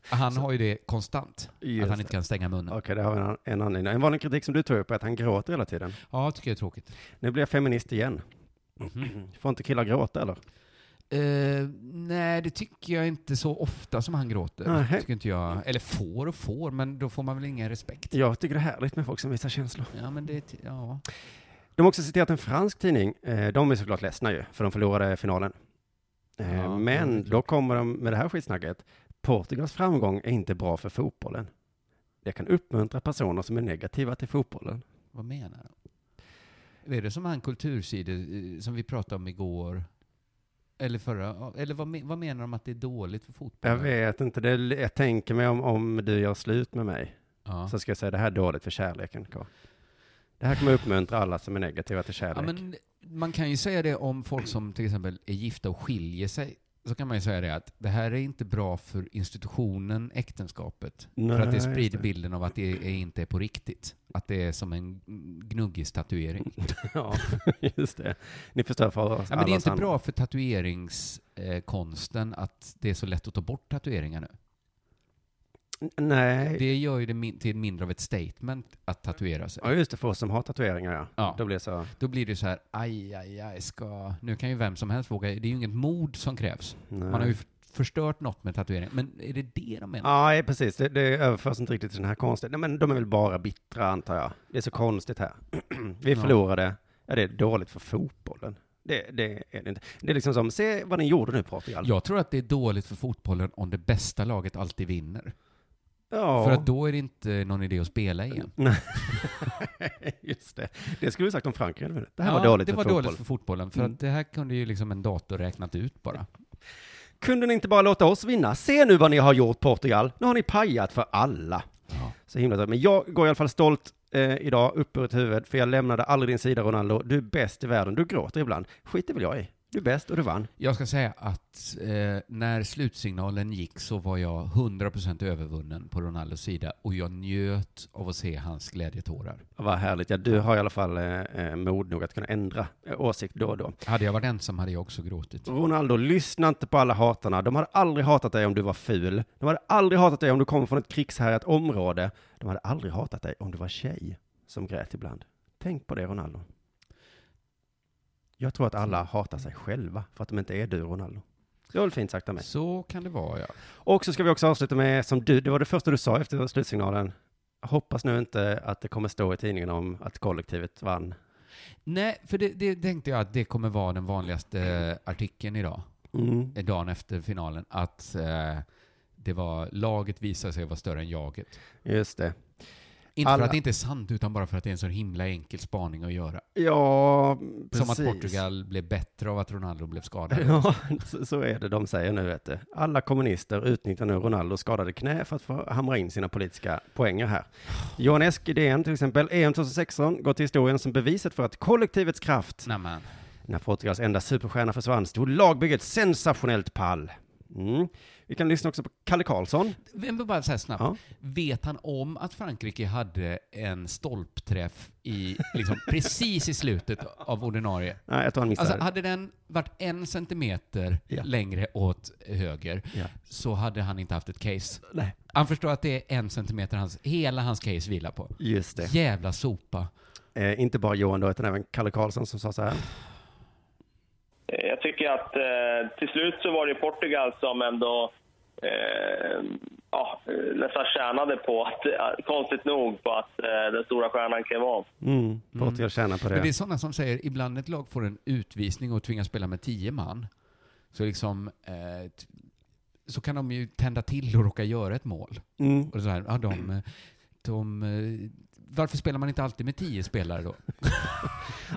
Han har ju det konstant, att han inte kan stänga munnen. Okej, det har vi en, an- en anledning. En vanlig kritik som du tog upp är att han gråter hela tiden. Ja, tycker jag är tråkigt. Nu blir jag feminist igen. Får inte killar gråta eller? Eh, nej, det tycker jag inte så ofta som han gråter. Nej. Tycker inte jag. Eller får och får, men då får man väl ingen respekt. Jag tycker det är härligt med folk som visar känslor. Ja, men det, är ty- ja. De har också citerat en fransk tidning. Eh, De är såklart ledsna ju, för de förlorade finalen. Eh, Ja, det är Men klart. då kommer de med det här skitsnacket. Portugals framgång är inte bra för fotbollen. Det kan uppmuntra personer som är negativa till fotbollen. Vad menar de? Är det som han kultursidor eh, som vi pratade om igår? Eller förra? Eller vad, me- vad menar de att det är dåligt för Jag fotbollen? vet inte, det, är- jag tänker mig om, om du gör slut med mig, Ja. så ska jag säga det här är dåligt för kärleken. Karl. Det här kommer uppmuntra alla som är negativa till kärlek. ja, men man kan ju säga det om folk som till exempel är gifta och skiljer sig. Så kan man ju säga det att det här är inte bra för institutionen äktenskapet. för Nej, att det just sprider det. bilden av att det är inte är på riktigt. Att det är som en gnuggig tatuering. Ja, just det. Ni förstör för oss Ja, men det är allas inte andra. bra för tatueringskonsten att det är så lätt att ta bort tatueringar nu. Nej, Det gör ju det min- till mindre av ett statement att tatuera sig. Ja, just det, för oss som har tatueringar, ja. Ja. Då blir det så, Då blir det så här, aj, aj, aj, ska... Nu kan ju vem som helst våga. Det är ju inget mod som krävs. nej. Man har ju f- förstört något med tatuering. Men är det det de menar? Ja, ja, precis. Det, det överförs inte riktigt till den här konsten. Nej, men de är väl bara bittra, antar jag. Det är så konstigt här. Vi Ja. förlorade. Ja, det är dåligt för fotbollen. Det, det är det inte. Det är liksom som, se vad ni gjorde nu, Portugal. Jag tror att det är dåligt för fotbollen om det bästa laget alltid vinner. Ja. För att då är det inte någon idé att spela igen. just det. Det skulle vi sagt om Frankrike. hade vunnit. Det här Ja, var dåligt det för var fotboll. dåligt för fotbollen. För Mm. att det här kunde ju liksom en dator räknat ut bara. Kunde ni inte bara låta oss vinna? Se nu vad ni har gjort, Portugal. Nu har ni pajat för alla. Ja. Så himla trött. Men jag går i alla fall stolt eh, idag, upp ur ett huvud, för jag lämnade aldrig din sida Ronaldo. Du är bäst i världen. Du gråter ibland. Skiter väl jag i. Du är bäst och du vann. Jag ska säga att eh, när slutsignalen gick så var jag 100% övervunnen på Ronaldos sida och jag njöt av att se hans glädjetårar. Vad härligt. Ja, du har i alla fall eh, eh, mod nog att kunna ändra eh, åsikt då och då. Hade jag varit ensam hade jag också gråtit. Ronaldo, lyssna inte på alla hatarna. De hade aldrig hatat dig om du var ful. De hade aldrig hatat dig om du kom från ett krigshärjat område. De hade aldrig hatat dig om du var tjej, som grät ibland. Tänk på det, Ronaldo. Jag tror att alla hatar sig själva för att de inte är du, Ronaldo. Det var väl fint sagt av mig. Så kan det vara, ja. Och så ska vi också avsluta med, som du, det var det första du sa efter slutsignalen. Hoppas nu inte att det kommer stå i tidningen om att kollektivet vann. Nej, för det, det tänkte jag att det kommer vara den vanligaste artikeln idag, eh, dagen efter finalen, att eh, det var laget visade sig vara större än jaget. Just det. Inte för Alla- att det inte är sant, utan bara för att det är en så himla enkel spaning att göra. Ja, Som att precis. Portugal blev bättre av att Ronaldo blev skadad. Ja, så- så är det de säger nu, vet du. Alla kommunister utnyttjar nu Ronaldos skadade knä för att få hamra in sina politiska poänger här. Johan Esk i DN till exempel, E EM 2016 går till historien som beviset för att kollektivets kraft, Nämen. när Portugals enda superstjärna försvann, stod lagbygget sensationellt pall. Mm. Vi kan lyssna också på Kalle Karlsson. Vem vill bara säga snabbt. Ja. Vet han om att Frankrike hade en stolpträff i, liksom, precis i slutet av ordinarie? Nej, jag tror han missade. Alltså, hade den varit en centimeter Ja. längre åt höger Ja. så hade han inte haft ett case. Nej. Han förstår att det är en centimeter hans, hela hans case vilar på. Just det. Jävla sopa. Eh, inte bara Johan då, utan även Kalle Karlsson som sa så här. Eh, Jag tycker att eh, till slut så var det Portugal som ändå eh, ja, eh, nästan tjänade på att, eh, konstigt nog, på att eh, den stora stjärnan klev av. Mm, Portugal tjänar på det. Men det är sådana som säger, ibland ett lag får en utvisning och tvingas spela med tio man, så liksom, eh, t- så kan de ju tända till och råka göra ett mål. Mm. Och så här, ja, de, eh, de, eh, varför spelar man inte alltid med tio spelare då?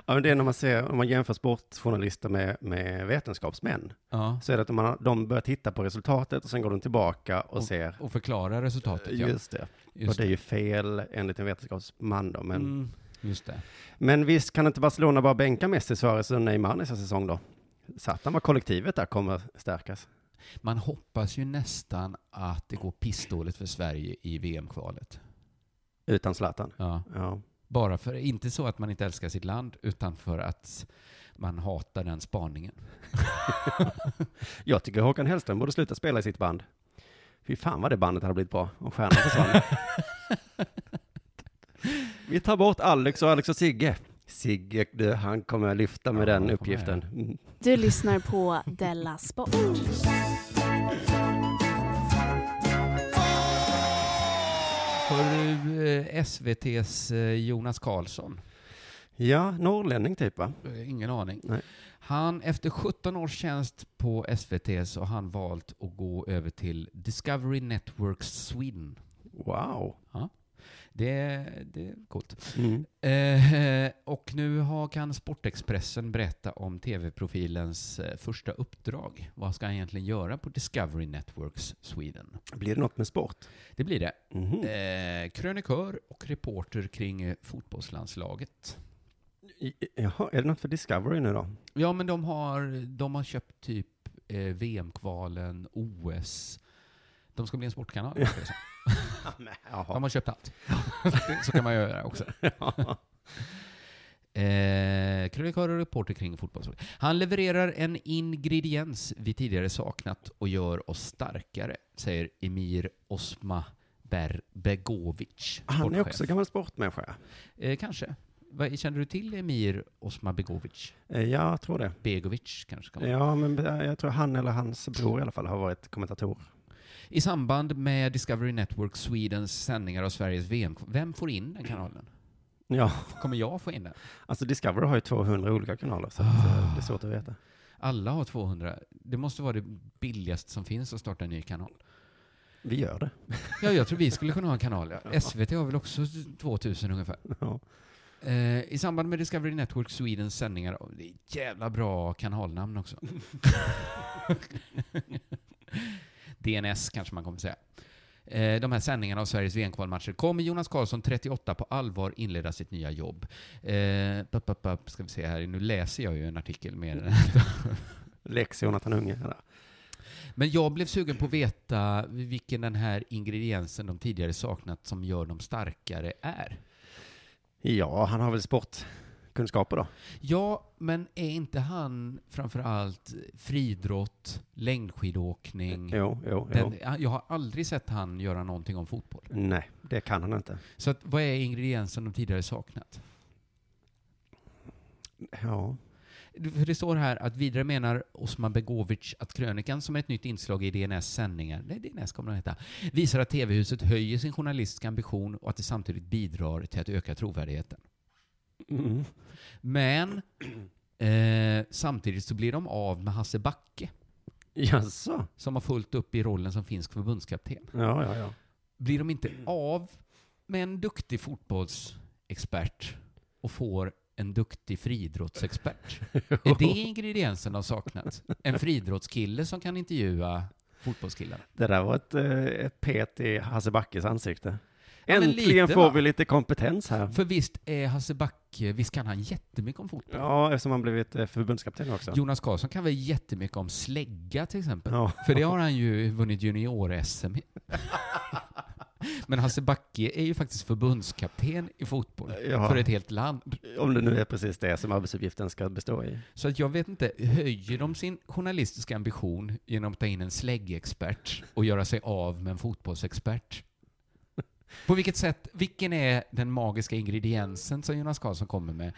Ja, men det är när man, ser, om man jämför sportjournalister med, med vetenskapsmän. Ja. Så är det att man, de börjar titta på resultatet och sen går de tillbaka och, ser. Och förklara resultatet. Ja. Just det. Just och det är ju fel enligt en vetenskapsman då. Men, Mm, just det. men visst kan inte Barcelona bara bänka Messi, Suarez och Neymar nästa säsong då? Satan vad kollektivet där kommer stärkas. Man hoppas ju nästan att det går pissdåligt för Sverige i VM-kvalet. Utan Zlatan. Ja. Ja. Bara för, inte så att man inte älskar sitt land, utan för att man hatar den spaningen. Jag tycker Håkan Hellström borde sluta spela i sitt band. Fy fan vad det bandet hade blivit bra om stjärnan försvann. Vi tar bort Alex och Alex och Sigge. Sigge, du, han kommer att lyfta med Ja, den han kommer uppgiften. Mm. Du lyssnar på Della Sport. Hör du eh, SVT's eh, Jonas Karlsson? Ja, norrlänning typ va? Eh, Ingen aning. Nej. Han, efter 17 års tjänst på SVT så har han valt att gå över till Discovery Network Sweden. Wow. Det, det är coolt. Mm. Eh, och nu har, kan Sportexpressen berätta om TV-profilens eh, första uppdrag. Vad ska han egentligen göra på Discovery Networks Sweden? Blir det något med sport? Det blir det. Mhm. Eh, krönikör och reporter kring eh, fotbollslandslaget. I- Jaha, är det något för Discovery nu då? Ja, men de har, de har köpt typ eh, VM-kvalen, OS. De ska bli en sportkanal. ska jag säga. Jaha. De har köpt allt. Så kan man göra också. Eh, krönikör och reporter kring fotbollsfrågor. Han levererar en ingrediens vi tidigare saknat och gör oss starkare, säger Emir Osma Ber- Begovic, Han är sportchef. också gammal sportmänniska. eh, Kanske. Vad- Känner du till Emir Osma Begovic? Eh, Ja, jag tror det. Begovic kanske kan man Ja, men eh, jag tror han eller hans bror i alla fall har varit kommentator. I samband med Discovery Network Swedens sändningar av Sveriges VM, vem får in den kanalen? Ja, Kommer jag få in den? Alltså Discovery har ju 200 olika kanaler, så att, Ah. eh, det är svårt att veta. Alla har 200. Det måste vara det billigaste som finns att starta en ny kanal. Vi gör det. Ja, jag tror vi skulle kunna ha en kanal. ja. SVT har väl också 2000 ungefär. Ja. Eh, I samband med Discovery Network Swedens sändningar, oh, det är ett jävla bra kanalnamn också. DNS kanske man kommer säga. eh, de här sändningarna av Sveriges VM-kvalmatcher kommer Jonas Karlsson, 38, på allvar inleda sitt nya jobb. Eh, pop, pop, pop, ska vi se här, nu läser jag ju en artikel mer än Lex Jonathan Unge. eller? Men jag blev sugen på att veta vilken den här ingrediensen de tidigare saknat som gör dem starkare är. Ja, han har väl sportkunskaper då. Ja, men är inte han framförallt friidrott, längdskidåkning? Jo, jo, jo. Den, jag har aldrig sett han göra någonting om fotboll. Nej, det kan han inte. Så att, vad är ingrediensen de tidigare saknat? Ja. För det står här att vidare menar Osman Begovic att krönikan som är ett nytt inslag i DNS sändningar, nej DNS kommer den heta, visar att TV-huset höjer sin journalistiska ambition och att det samtidigt bidrar till att öka trovärdigheten. Mm. Men eh, samtidigt så blir de av med Hasse Backe, Jaså? som har fullt upp i rollen som finsk förbundskapten. Ja, ja, ja. Blir de inte av med en duktig fotbollsexpert och får en duktig friidrottsexpert? Är det ingrediensen de saknat? En friidrottskille som kan intervjua fotbollskillar? Det där var ett, eh, ett pet i Hasse Backes ansikte. Ja, men Äntligen lite, får va? vi lite kompetens här. För visst är Hasse Backe, visst kan han jättemycket om fotboll? Ja, eftersom han blivit eh, förbundskapten också. Jonas Karlsson kan väl jättemycket om slägga till exempel? Ja. För det har han ju vunnit junior-SM i. Men Hasse Backe är ju faktiskt förbundskapten i fotboll Ja. för ett helt land. Om det nu är precis det som arbetsuppgiften ska bestå i. Så att jag vet inte, höjer de sin journalistiska ambition genom att ta in en släggexpert och göra sig av med en fotbollsexpert? På vilket sätt, vilken är den magiska ingrediensen som Jonas Karlsson kommer med?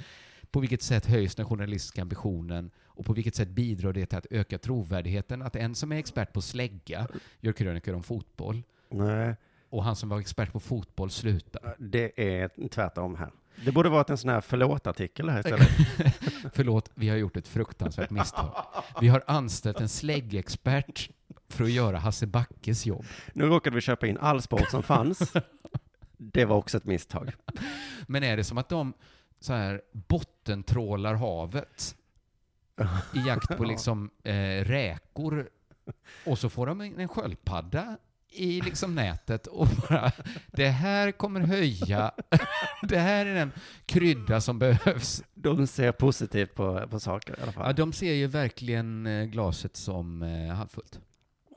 På vilket sätt höjs den journalistiska ambitionen och på vilket sätt bidrar det till att öka trovärdigheten att en som är expert på slägga gör krönikor om fotboll Nej, och han som var expert på fotboll slutar. det är tvärtom här. Det borde varit en sån här förlåt-artikel här istället. Förlåt, vi har gjort ett fruktansvärt misstag. Vi har anställt en släggexpert för att göra Hasse Backes jobb. Nu råkade vi köpa in all sport som fanns. Det var också ett misstag. Men är det som att de så här bottentrålar havet i jakt på liksom eh, räkor och så får de en en sköldpadda i liksom nätet och bara det här kommer höja, det här är den krydda som behövs. De ser positivt på, på saker i alla Ja, fall. de ser ju verkligen eh, glaset som eh, halvfullt.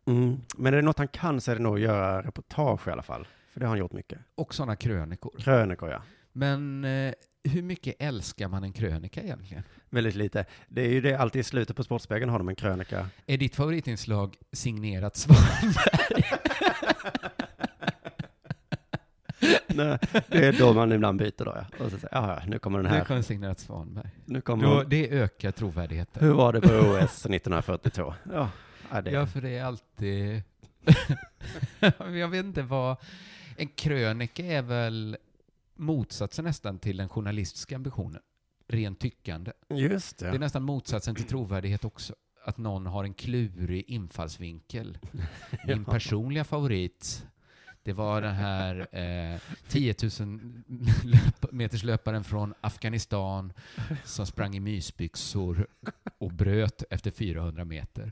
Mm. Men är det något han kan så är det nog att göra reportage i alla fall. För det har han gjort mycket. Och sådana krönikor. Krönikor, ja. Men eh, hur mycket älskar man en krönika egentligen? Väldigt lite. Det är ju det, alltid i slutet på Sportspegeln har de en krönika. Är ditt favoritinslag signerat Svanberg? Nej, det är då man ibland byter då, ja. Och så säger ja, ja, nu kommer den Nu här. kommer signerat Svanberg. Nu kommer Då, hon. det ökar trovärdigheten. Hur var det på OS 1942? Ja, ja, det Ja, för det är alltid... jag vet inte vad... En krönika är väl motsatsen nästan till den journalistiska ambitionen. Rent tyckande. Just det. Det är nästan motsatsen till trovärdighet också. Att någon har en klurig infallsvinkel. Min personliga favorit, det var den här eh, 10 000 löp- meterslöparen från Afghanistan som sprang i mysbyxor och bröt efter 400 meter.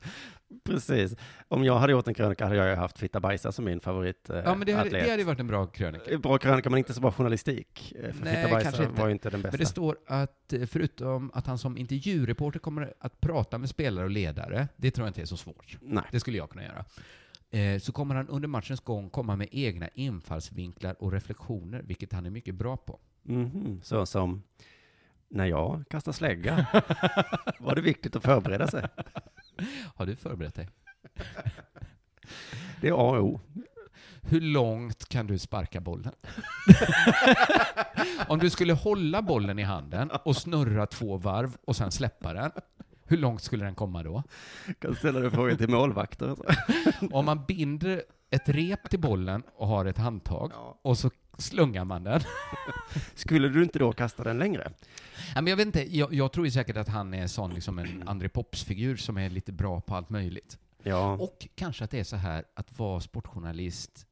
Precis. Om jag hade gjort en krönika hade jag ju haft Fitta Bajsa som min favoritatlet. Ja, men det hade, det hade ju varit en bra krönika. Bra krönika, men inte så bra journalistik. Eh, För Nej, Fitta Bajsa kanske inte. var ju inte den bästa. Men det står att eh, förutom att han som intervjureporter kommer att prata med spelare och ledare, det tror jag inte är så svårt. Nej. Det skulle jag kunna göra. Eh, Så kommer han under matchens gång komma med egna infallsvinklar och reflektioner, vilket han är mycket bra på. Mhm. Så som, när jag kastar slägga var det viktigt att förbereda sig. Har du förberett dig? Det är A och O. Hur långt kan du sparka bollen? Om du skulle hålla bollen i handen och snurra två varv och sen släppa den, hur långt skulle den komma då? Kan ställa du frågan till målvakter. Om man binder ett rep till bollen och har ett handtag och så slungar man den. Skulle du inte då kasta den längre? Nej, men jag, vet inte, jag, jag tror ju säkert att han är sån, liksom en André Pops-figur som är lite bra på allt möjligt. Ja. Och kanske att det är så här att vara sportjournalist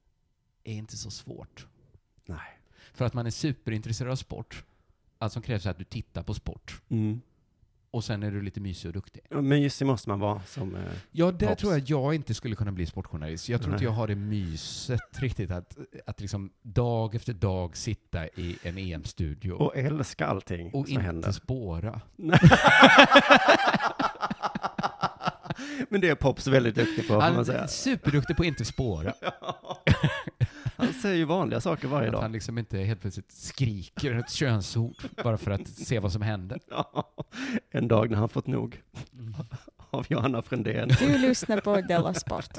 är inte så svårt. Nej. alltså Mm. För att man är superintresserad av sport. Allt som krävs är att du tittar på sport. och sen är du lite mysig och duktig. Och Mysig måste man vara som... eh, Ja, där Tops. tror jag att jag inte skulle kunna bli sportjournalist. Jag tror inte Nej. jag har det myset riktigt att, att liksom dag efter dag sitta i en EM-studio och, Och älska allting som inte händer. spåra. Men det är Pops väldigt duktig på, får Han man säga. är superduktig på att inte spåra. Han säger ju vanliga saker varje Att dag. han liksom inte helt plötsligt skriker ett könsord bara för att se vad som händer. Ja, en dag när han fått nog Mm. av Johanna Frändén. Du lyssnar på Della Sport.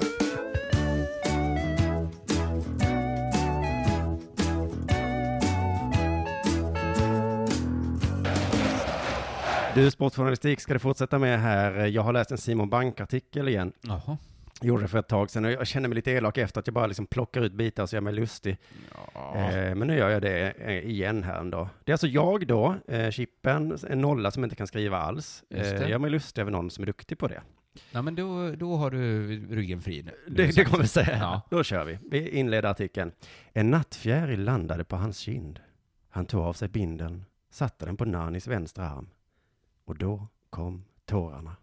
Du, sportjournalistik ska du fortsätta med här. Jag har läst en Simon Bank-artikel igen. Jaha. Gjorde det för ett tag sedan och jag känner mig lite elak efter att jag bara liksom plockar ut bitar så jag är mig lustig. Eh, men nu gör jag det eh, igen här en dag. Det är alltså jag då, eh, Chippen, en nolla som inte kan skriva alls. Eh, Just det. jag är mig lustig över någon som är duktig på det. Nej, men då, då har du ryggen fri nu. Det, det kommer vi säga. Ja. Då kör vi. Vi inleder artikeln. En nattfjäril landade på hans kind. Han tog av sig bindeln, satte den på Nanis vänstra arm. Och då kom tårarna.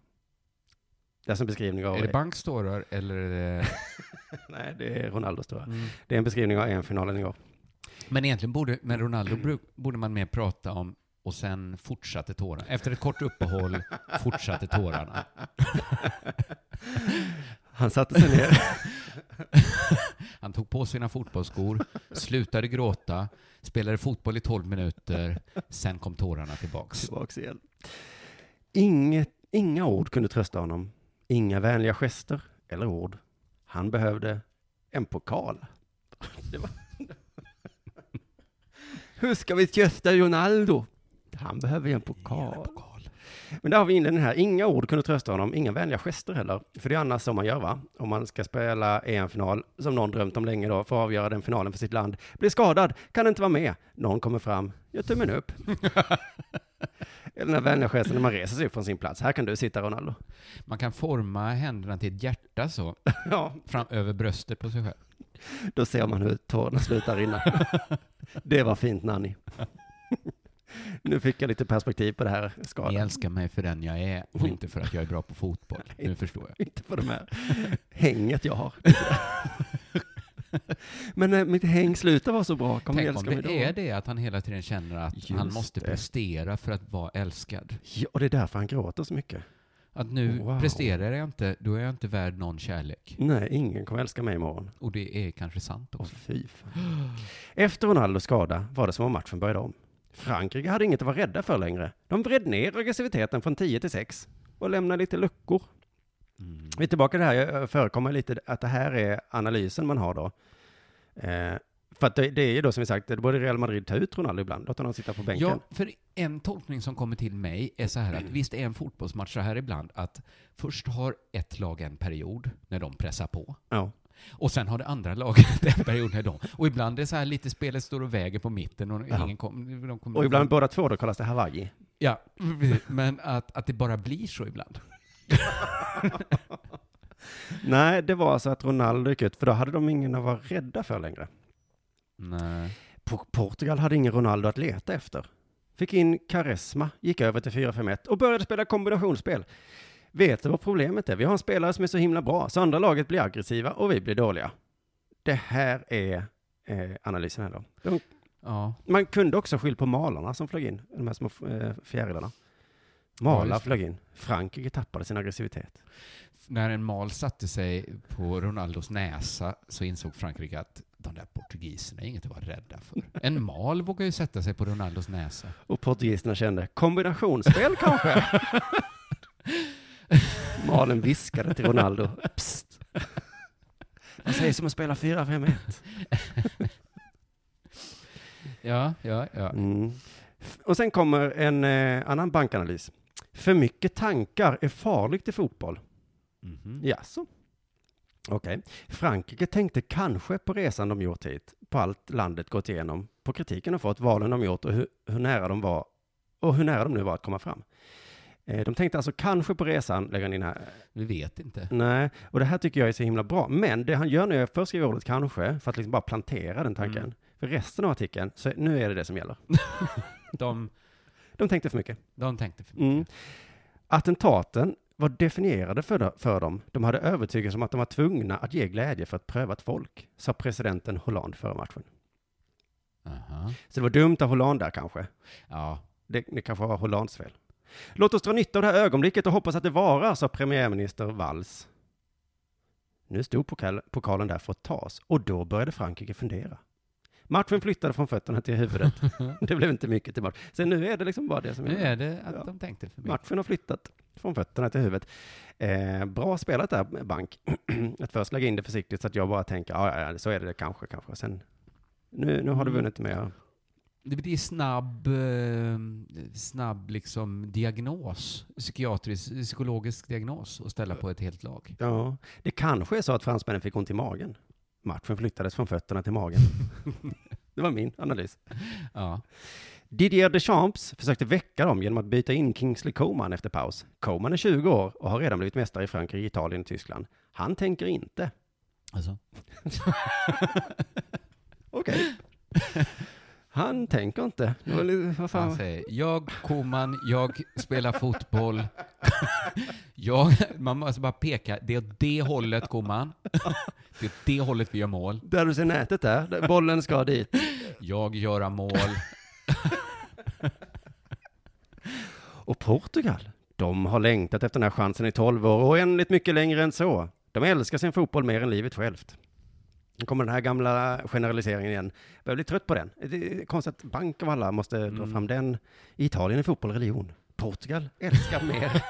Det är alltså en beskrivning av... Är det Banks tårar eller eh, är det... Nej, det är Ronaldos tårar. Det är en beskrivning av EM-finalen igår. Men egentligen borde, med Ronaldo bru- borde man mer prata om och sen fortsatte tårarna. Efter ett kort uppehåll fortsatte tårarna. Han satte sig ner. Han tog på sina fotbollsskor, slutade gråta, spelade fotboll i 12 minuter, sen kom tårarna tillbaks. tillbaks igen. Inget, inga ord kunde trösta honom. Inga vänliga gester eller ord. Han behövde en pokal. Det var... Hur ska vi trösta Ronaldo? Han behöver ju en pokal. Men där har vi inledningen här. Inga ord kunde trösta honom, inga vänliga gester heller. För det är annars så man gör va? Om man ska spela EM-final, som någon drömt om länge då, för att avgöra den finalen för sitt land. Blir skadad, kan inte vara med. Någon kommer fram, gör tummen upp. Eller den här vänliga gesten när man reser sig upp från sin plats. Här kan du sitta Ronaldo. Man kan forma händerna till ett hjärta så, Ja, fram över bröstet på sig själv. då ser man hur tårarna slutar rinna. Det var fint Nanny. Nu fick jag lite perspektiv på det här skadan. Ni älskar mig för den jag är och inte för att jag är bra på fotboll. Nu förstår jag. Inte på de här hänget jag har. Men eh, mitt häng slutar vara så bra. Kommer Tänk om älska mig då? det är det att han hela tiden känner att han Just måste det. prestera för att vara älskad. Ja, och det är därför han gråter så mycket. Att nu Wow. presterar jag inte, då är jag inte värd någon kärlek. Nej, ingen kommer älska mig imorgon. Och det är kanske sant Och också. fy fan. Efter Ronaldos skada var det som om matchen började om. Frankrike hade inget att vara rädda för längre. De vred ner aggressiviteten från 10 till 6 och lämnade lite luckor. Vi är tillbaka till det här, jag förekommer lite att det här är analysen man har då. Eh, för att det, det är ju då som vi sagt, det borde Real Madrid ta ut Ronaldo ibland, låta honom sitta på bänken. Ja, för en tolkning som kommer till mig är så här att visst är en fotbollsmatch så här ibland att först har ett lag en period när de pressar på. Ja. Och sen har det andra laget en period när de... Och ibland är det så här lite spelet står och väger på mitten och Ja. ingen kom, de kommer... Och ibland båda två, då kallas det Hawaii. Ja, precis. men att, att det bara blir så ibland. Nej, det var alltså att Ronaldo gick ut, för då hade de ingen att vara rädda för längre. Nej. Po- Portugal hade ingen Ronaldo att leta efter. Fick in Karesma, gick över till 4-5-1 och började spela kombinationsspel. Vet du vad problemet är? Vi har en spelare som är så himla bra, så andra laget blir aggressiva och vi blir dåliga. Det här är eh, analysen här då. De, Ja. man kunde också skylla på malarna som flög in, de här små eh, fjärilarna. Ja, Malar just det. flög in. Frankrike tappade sin aggressivitet. När en mal satte sig på Ronaldos näsa så insåg Frankrike att de där portugiserna är inget att vara rädda för. En mal vågar ju sätta sig på Ronaldos näsa. Och portugiserna kände, kombinationsspel kanske? Malen viskade till Ronaldo, psst. Vad sägs om att spela 4-5-1? Ja, ja, ja. Mm. F- Och sen kommer en eh, annan bankanalys. För mycket tankar är farligt i fotboll. Mhm. Jaså? Okej. Frankrike tänkte kanske på resan de gjort hit, på allt landet gått igenom, på kritiken de fått, valen de gjort och hur, hur nära de var och hur nära de nu var att komma fram. Eh, De tänkte alltså kanske på resan, lägger han in här. Vi vet inte. Nej, och det här tycker jag är så himla bra. Men det han gör nu är att först skriva ordet kanske, för att liksom bara plantera den tanken. Mm. För resten av artikeln, så nu är det det som gäller. De, De tänkte för mycket. de tänkte för mycket. Mm. Attentaten var definierade för, de- för dem. De hade övertygats om att de var tvungna att ge glädje för att pröva ett folk, sa presidenten Hollande före matchen. Aha. Så det var dumt av Hollande där kanske. Ja. Det, det kanske var Hollands fel. Låt oss dra nytta av det här ögonblicket och hoppas att det varar, sa premiärminister Valls. Nu stod pokal, pokalen där för att tas och då började Frankrike fundera. Matchen flyttade från fötterna till huvudet. det blev inte mycket till match. Så nu är det liksom bara det som Nu är det att Ja. de tänkte för mycket. Matchen har flyttat från fötterna till huvudet. Eh, bra spelat där, Bank. att först lägga in det försiktigt så att jag bara tänker, "Ah, ja, ja, ja, så är det kanske, kanske. Sen, nu, nu har du Mm. vunnit med Det blir snabb, eh, snabb liksom diagnos, psykiatrisk, psykologisk diagnos att ställa på ett helt lag. Ja, det kanske är så att fransmännen fick ont i magen. Matchen flyttades från fötterna till magen. det var min analys. Ja. Didier Deschamps försökte väcka dem genom att byta in Kingsley Coman efter paus. Coman är 20 år och har redan blivit mästare i Frankrike, Italien och Tyskland. Han tänker inte. Alltså. Okej. Han tänker inte. Det var lite- Vad Han fan? säger, jag Koman, jag spelar fotboll. jag, man måste bara peka, det är åt det hållet Koman. det är åt det hållet vi gör mål. Där du ser nätet där, där bollen ska dit. Jag göra mål. Och Portugal, de har längtat efter den här chansen i 12 år och oändligt mycket längre än så. De älskar sin fotboll mer än livet självt. Nu kommer den här gamla generaliseringen igen. Jag börjar bli trött på den. Det är konstigt att bank av alla måste dra fram den. I Italien är fotboll religion. Portugal älskar mer.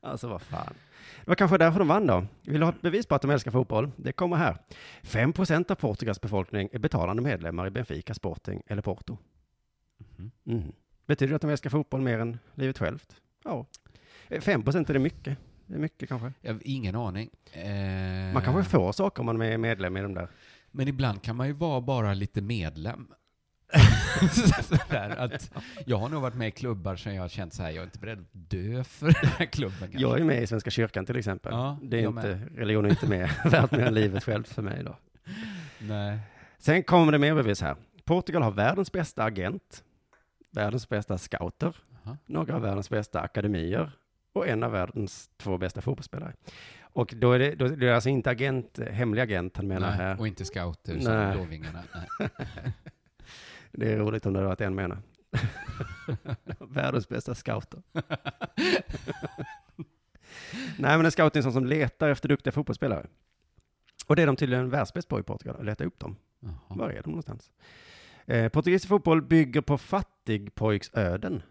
alltså vad fan. Det var kanske därför de vann då. Vill du ha ett bevis på att de älskar fotboll? Det kommer här. 5% av Portugals befolkning är betalande medlemmar i Benfica, Sporting eller Porto. Mhm. Mm. Betyder det att de älskar fotboll mer än livet självt? Ja. Eh, 5% är det mycket. Det är mycket kanske. Jag har ingen aning. Eh, Man kanske får saker om man är medlem i de där. Men ibland kan man ju vara bara lite medlem. Sådär, att jag har nog varit med i klubbar sen jag har känt så här, jag är inte beredd att dö för den här klubben. Kanske. Jag är med i Svenska kyrkan till exempel. Ja, det är jag inte, religion är inte med, värt mer än livet självt för mig då. Nej. Sen kommer det mer bevis här. Portugal har världens bästa agent, världens bästa scouter, Jaha. några av världens bästa akademier och en av världens två bästa fotbollsspelare. Och då är det, då, det är alltså inte agent, hemlig agent han menar Nej. här. Och inte scouter som Nej. Blåvingarna. Nej. Det är roligt om det hade varit en menar. Världens bästa scouter. Nej, men en scout är en sån som letar efter duktiga fotbollsspelare. Och det är de tydligen världsbäst på i Portugal, att leta upp dem. Jaha. Var är de någonstans? Eh, portugisisk fotboll bygger på fattigpojksöden.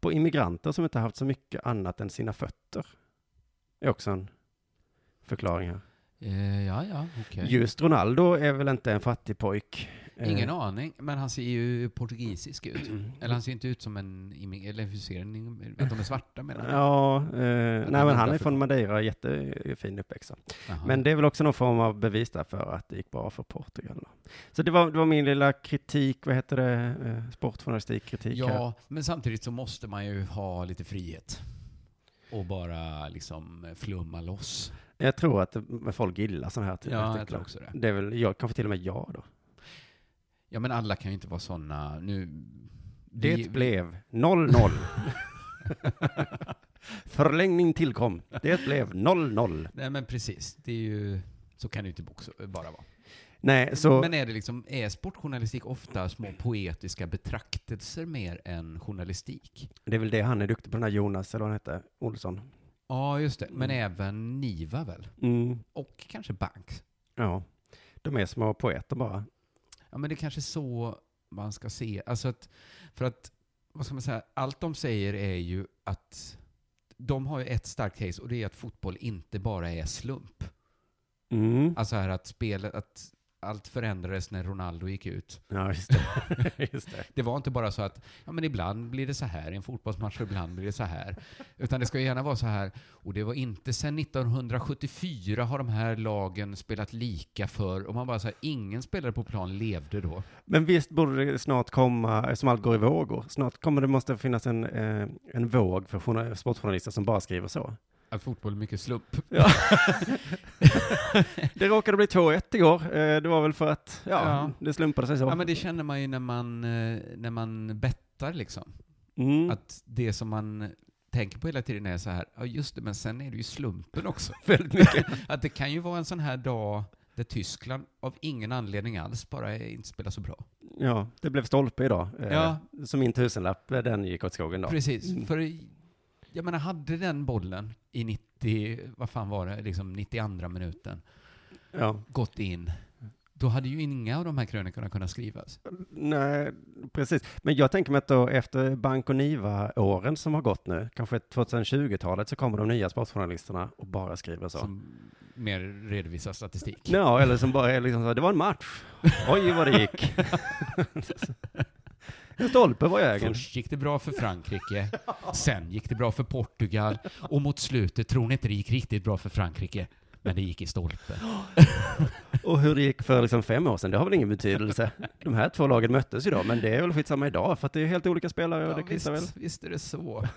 På immigranter som inte haft så mycket annat än sina fötter. Det är också en förklaring här. Eh, ja, ja, okej. Just Ronaldo är väl inte en fattig pojk? Eh, Ingen aning, men han ser ju portugisisk ut. Eller han ser inte ut som en immig- eller hur ser den? Att de är svarta menar jag. Ja, eh, nej men han är Nordafrika. från Madeira, jättefin uppväxt. så. Jaha. Men det är väl också någon form av bevis där för att det gick bra för Portugal. då. Så det var, det var min lilla kritik, vad heter det, eh, sportjournalistikkritik här. Ja, men samtidigt så måste man ju ha lite frihet. Och bara liksom flumma loss. Jag tror att eh, folk gillar sådana här Ja, jag artiklar. tror också det. Det är väl jag, kanske till och med jag då. Ja, men alla kan ju inte vara sådana. Nu... Det vi- blev 0-0. Förlängning tillkom. Det blev 0-0. Nej, men precis. Det är ju... Så kan det ju inte också bara vara. Nej, så... Men är det liksom, är sportjournalistik ofta små poetiska betraktelser mer än journalistik? Det är väl det han är duktig på, den här Jonas, eller vad han hette, Olsson. Ja, just det. Men även Niva väl? Mm. Och kanske Banks? Ja. De är små poeter bara. Ja, men det är kanske så man ska se. Alltså att, för att, vad ska man säga, allt de säger är ju att de har ju ett starkt case och det är att fotboll inte bara är slump. Mm. Alltså här att spelet, att allt förändrades när Ronaldo gick ut. Ja, just det. just det. Det var inte bara så att, ja men ibland blir det så här i en fotbollsmatch och ibland blir det så här. Utan det ska ju gärna vara så här, och det var inte sedan 1974 har de här lagen spelat lika för, och man bara så här, ingen spelare på plan levde då. Men visst borde det snart komma, som allt går i vågor, snart kommer det måste finnas en, eh, en våg för journa- sportjournalister som bara skriver så. Att fotboll är mycket slump. Det råkade bli 2-1 igår, eh, det var väl för att, ja, Ja. det slumpade sig så. Ja, men det känner man ju när man, eh, när man bettar liksom. mm. Att det som man tänker på hela tiden är så här, ja just det, men sen är det ju slumpen också väldigt mycket. Att det kan ju vara en sån här dag där Tyskland av ingen anledning alls bara inte spelar så bra. Ja, det blev stolpe idag. Eh, Mm. Ja. Så min tusenlapp, eh, den gick åt skogen då. Precis, för i- jag menar, hade den bollen i 90, vad fan var det, liksom 92 minuten Ja. gått in, då hade ju inga av de här krönikorna kunnat skrivas. Nej, precis. Men jag tänker mig att då efter Bank och Niva-åren som har gått nu, kanske 2020-talet, så kommer de nya sportjournalisterna och bara skriver så. Som mer redovisar statistik. Ja, eller som bara är liksom så här, det var en match. Oj, vad det gick. en stolpe var jag ägen. Först gick det bra för Frankrike, sen gick det bra för Portugal, och mot slutet tror ni inte det gick riktigt bra för Frankrike, men det gick i stolpen. Och hur det gick för liksom fem år sedan, det har väl ingen betydelse. De här två lagen möttes ju då, men det är väl skitsamma idag, för att det är helt olika spelare och det kvittar väl. visst, visst är det så.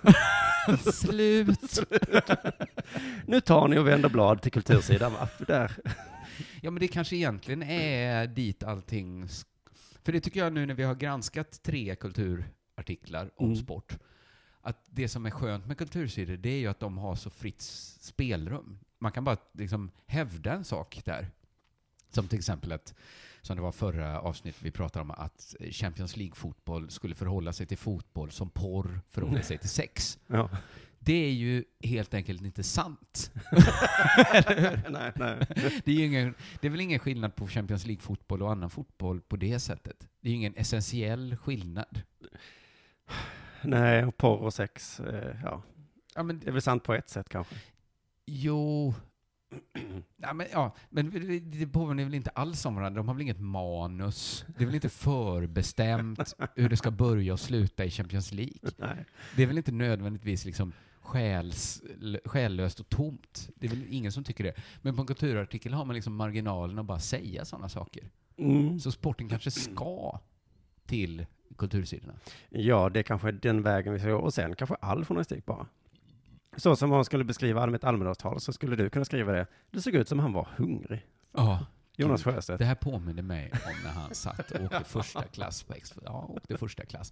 Slut. Nu tar ni och vänder blad till kultursidan, va? Där. Ja, men det kanske egentligen är dit allting... sk- För det tycker jag nu när vi har granskat tre kulturartiklar om Mm. sport, att det som är skönt med kultursidor, det är ju att de har så fritt s- spelrum. Man kan bara liksom hävda en sak där. Som till exempel att, som det var förra avsnittet vi pratade om, att Champions League-fotboll skulle förhålla sig till fotboll som porr förhåller sig till sex. Ja. Det är ju helt enkelt inte sant. nej, nej. Det är, ju ingen, det är väl ingen skillnad på Champions League-fotboll och annan fotboll på det sättet? Det är ju ingen essentiell skillnad. Nej, och porr och sex, eh, ja. Ja, men, Det är väl sant på ett sätt kanske. jo... Ja, men, ja, men det- det påminner väl inte alls om varandra? De har väl inget manus? Det är väl inte förbestämt hur det ska börja och sluta i Champions League? Nej. Det är väl inte nödvändigtvis liksom själs, själlöst och tomt? Det är väl ingen som tycker det. Men på en kulturartikel har man liksom marginalen att bara säga sådana saker. Mm. Så sporten kanske ska till kultursidorna. Ja, det är kanske den vägen vi ska gå. Och sen kanske all journalistik bara. Så som man skulle beskriva Ahmed Almedalstal så skulle du kunna skriva det. Det såg ut som han var hungrig. Ja, Jonas Sjöstedt. det här påminner mig om när han satt och åkte första klass på Expo. Ja, åkte första klass.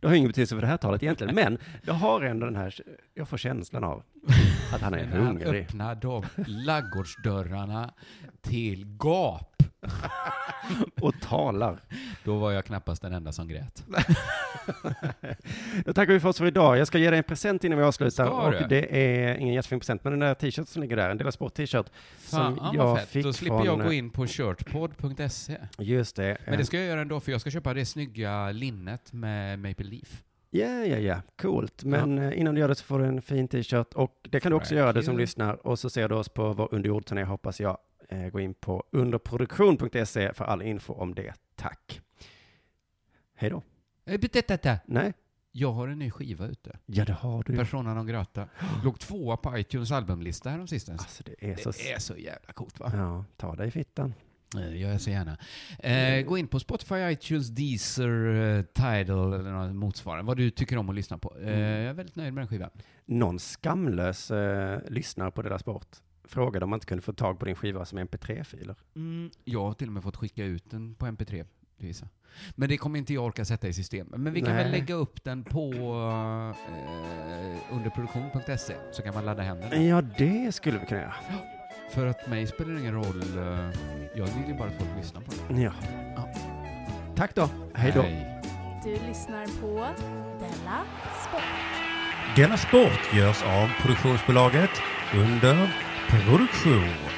Det har ingen betydelse för det här talet egentligen, men det har ändå den här, jag får känslan av att han är Men han hungrig. öppnar de laggårdsdörrarna till gap. Och talar. Då var jag knappast den enda som grät. Då tackar vi för oss för idag. Jag ska ge dig en present innan vi avslutar. Ska du? och det är ingen jättefin present, men den där t-shirten som ligger där, en Dela Sport-t-shirt. Fan, som vad jag fett. fick Då slipper från, jag gå in på shirtpod.se. Just det. Men det ska jag göra ändå, för jag ska köpa det snygga linnet med Maple Leaf. Ja, ja, ja, coolt. Men eh, innan du gör det så får du en fin t-shirt och det kan du också Thank göra du som you. lyssnar och så ser du oss på vår underjordturné hoppas jag. Eh, Gå in på underproduktion.se för all info om det. Tack. Hej då. Eh, betätata. Nej, Jag har en ny skiva ute. ja det har du. Persona non grata. Låg tvåa på iTunes albumlista häromsistens. Alltså det är så... s- Det är så jävla coolt va? Ja, ta dig i fittan. Eh, gör jag så gärna. Eh, gå in på Spotify, iTunes, Deezer, eh, Tidal eller något motsvarande. Vad du tycker om att lyssna på. Eh, jag är väldigt nöjd med den skivan. Någon skamlös eh, lyssnare på Dela Sport frågade om man inte kunde få tag på din skiva som mp3-filer. Mm, Jag har till och med fått skicka ut den på MP3 till vissa. Men det kommer inte jag orka sätta i system. Men vi kan Nej. väl lägga upp den på eh, underproduktion.se så kan man ladda hem den. där. Ja, det skulle vi kunna göra. För att mig spelar det ingen roll. eh, jag vill ju bara att folk lyssnar på den. Ja. Ja. Tack då. Hej då. Du lyssnar på Della Sport. Denna sport görs av produktionsbolaget under produktion.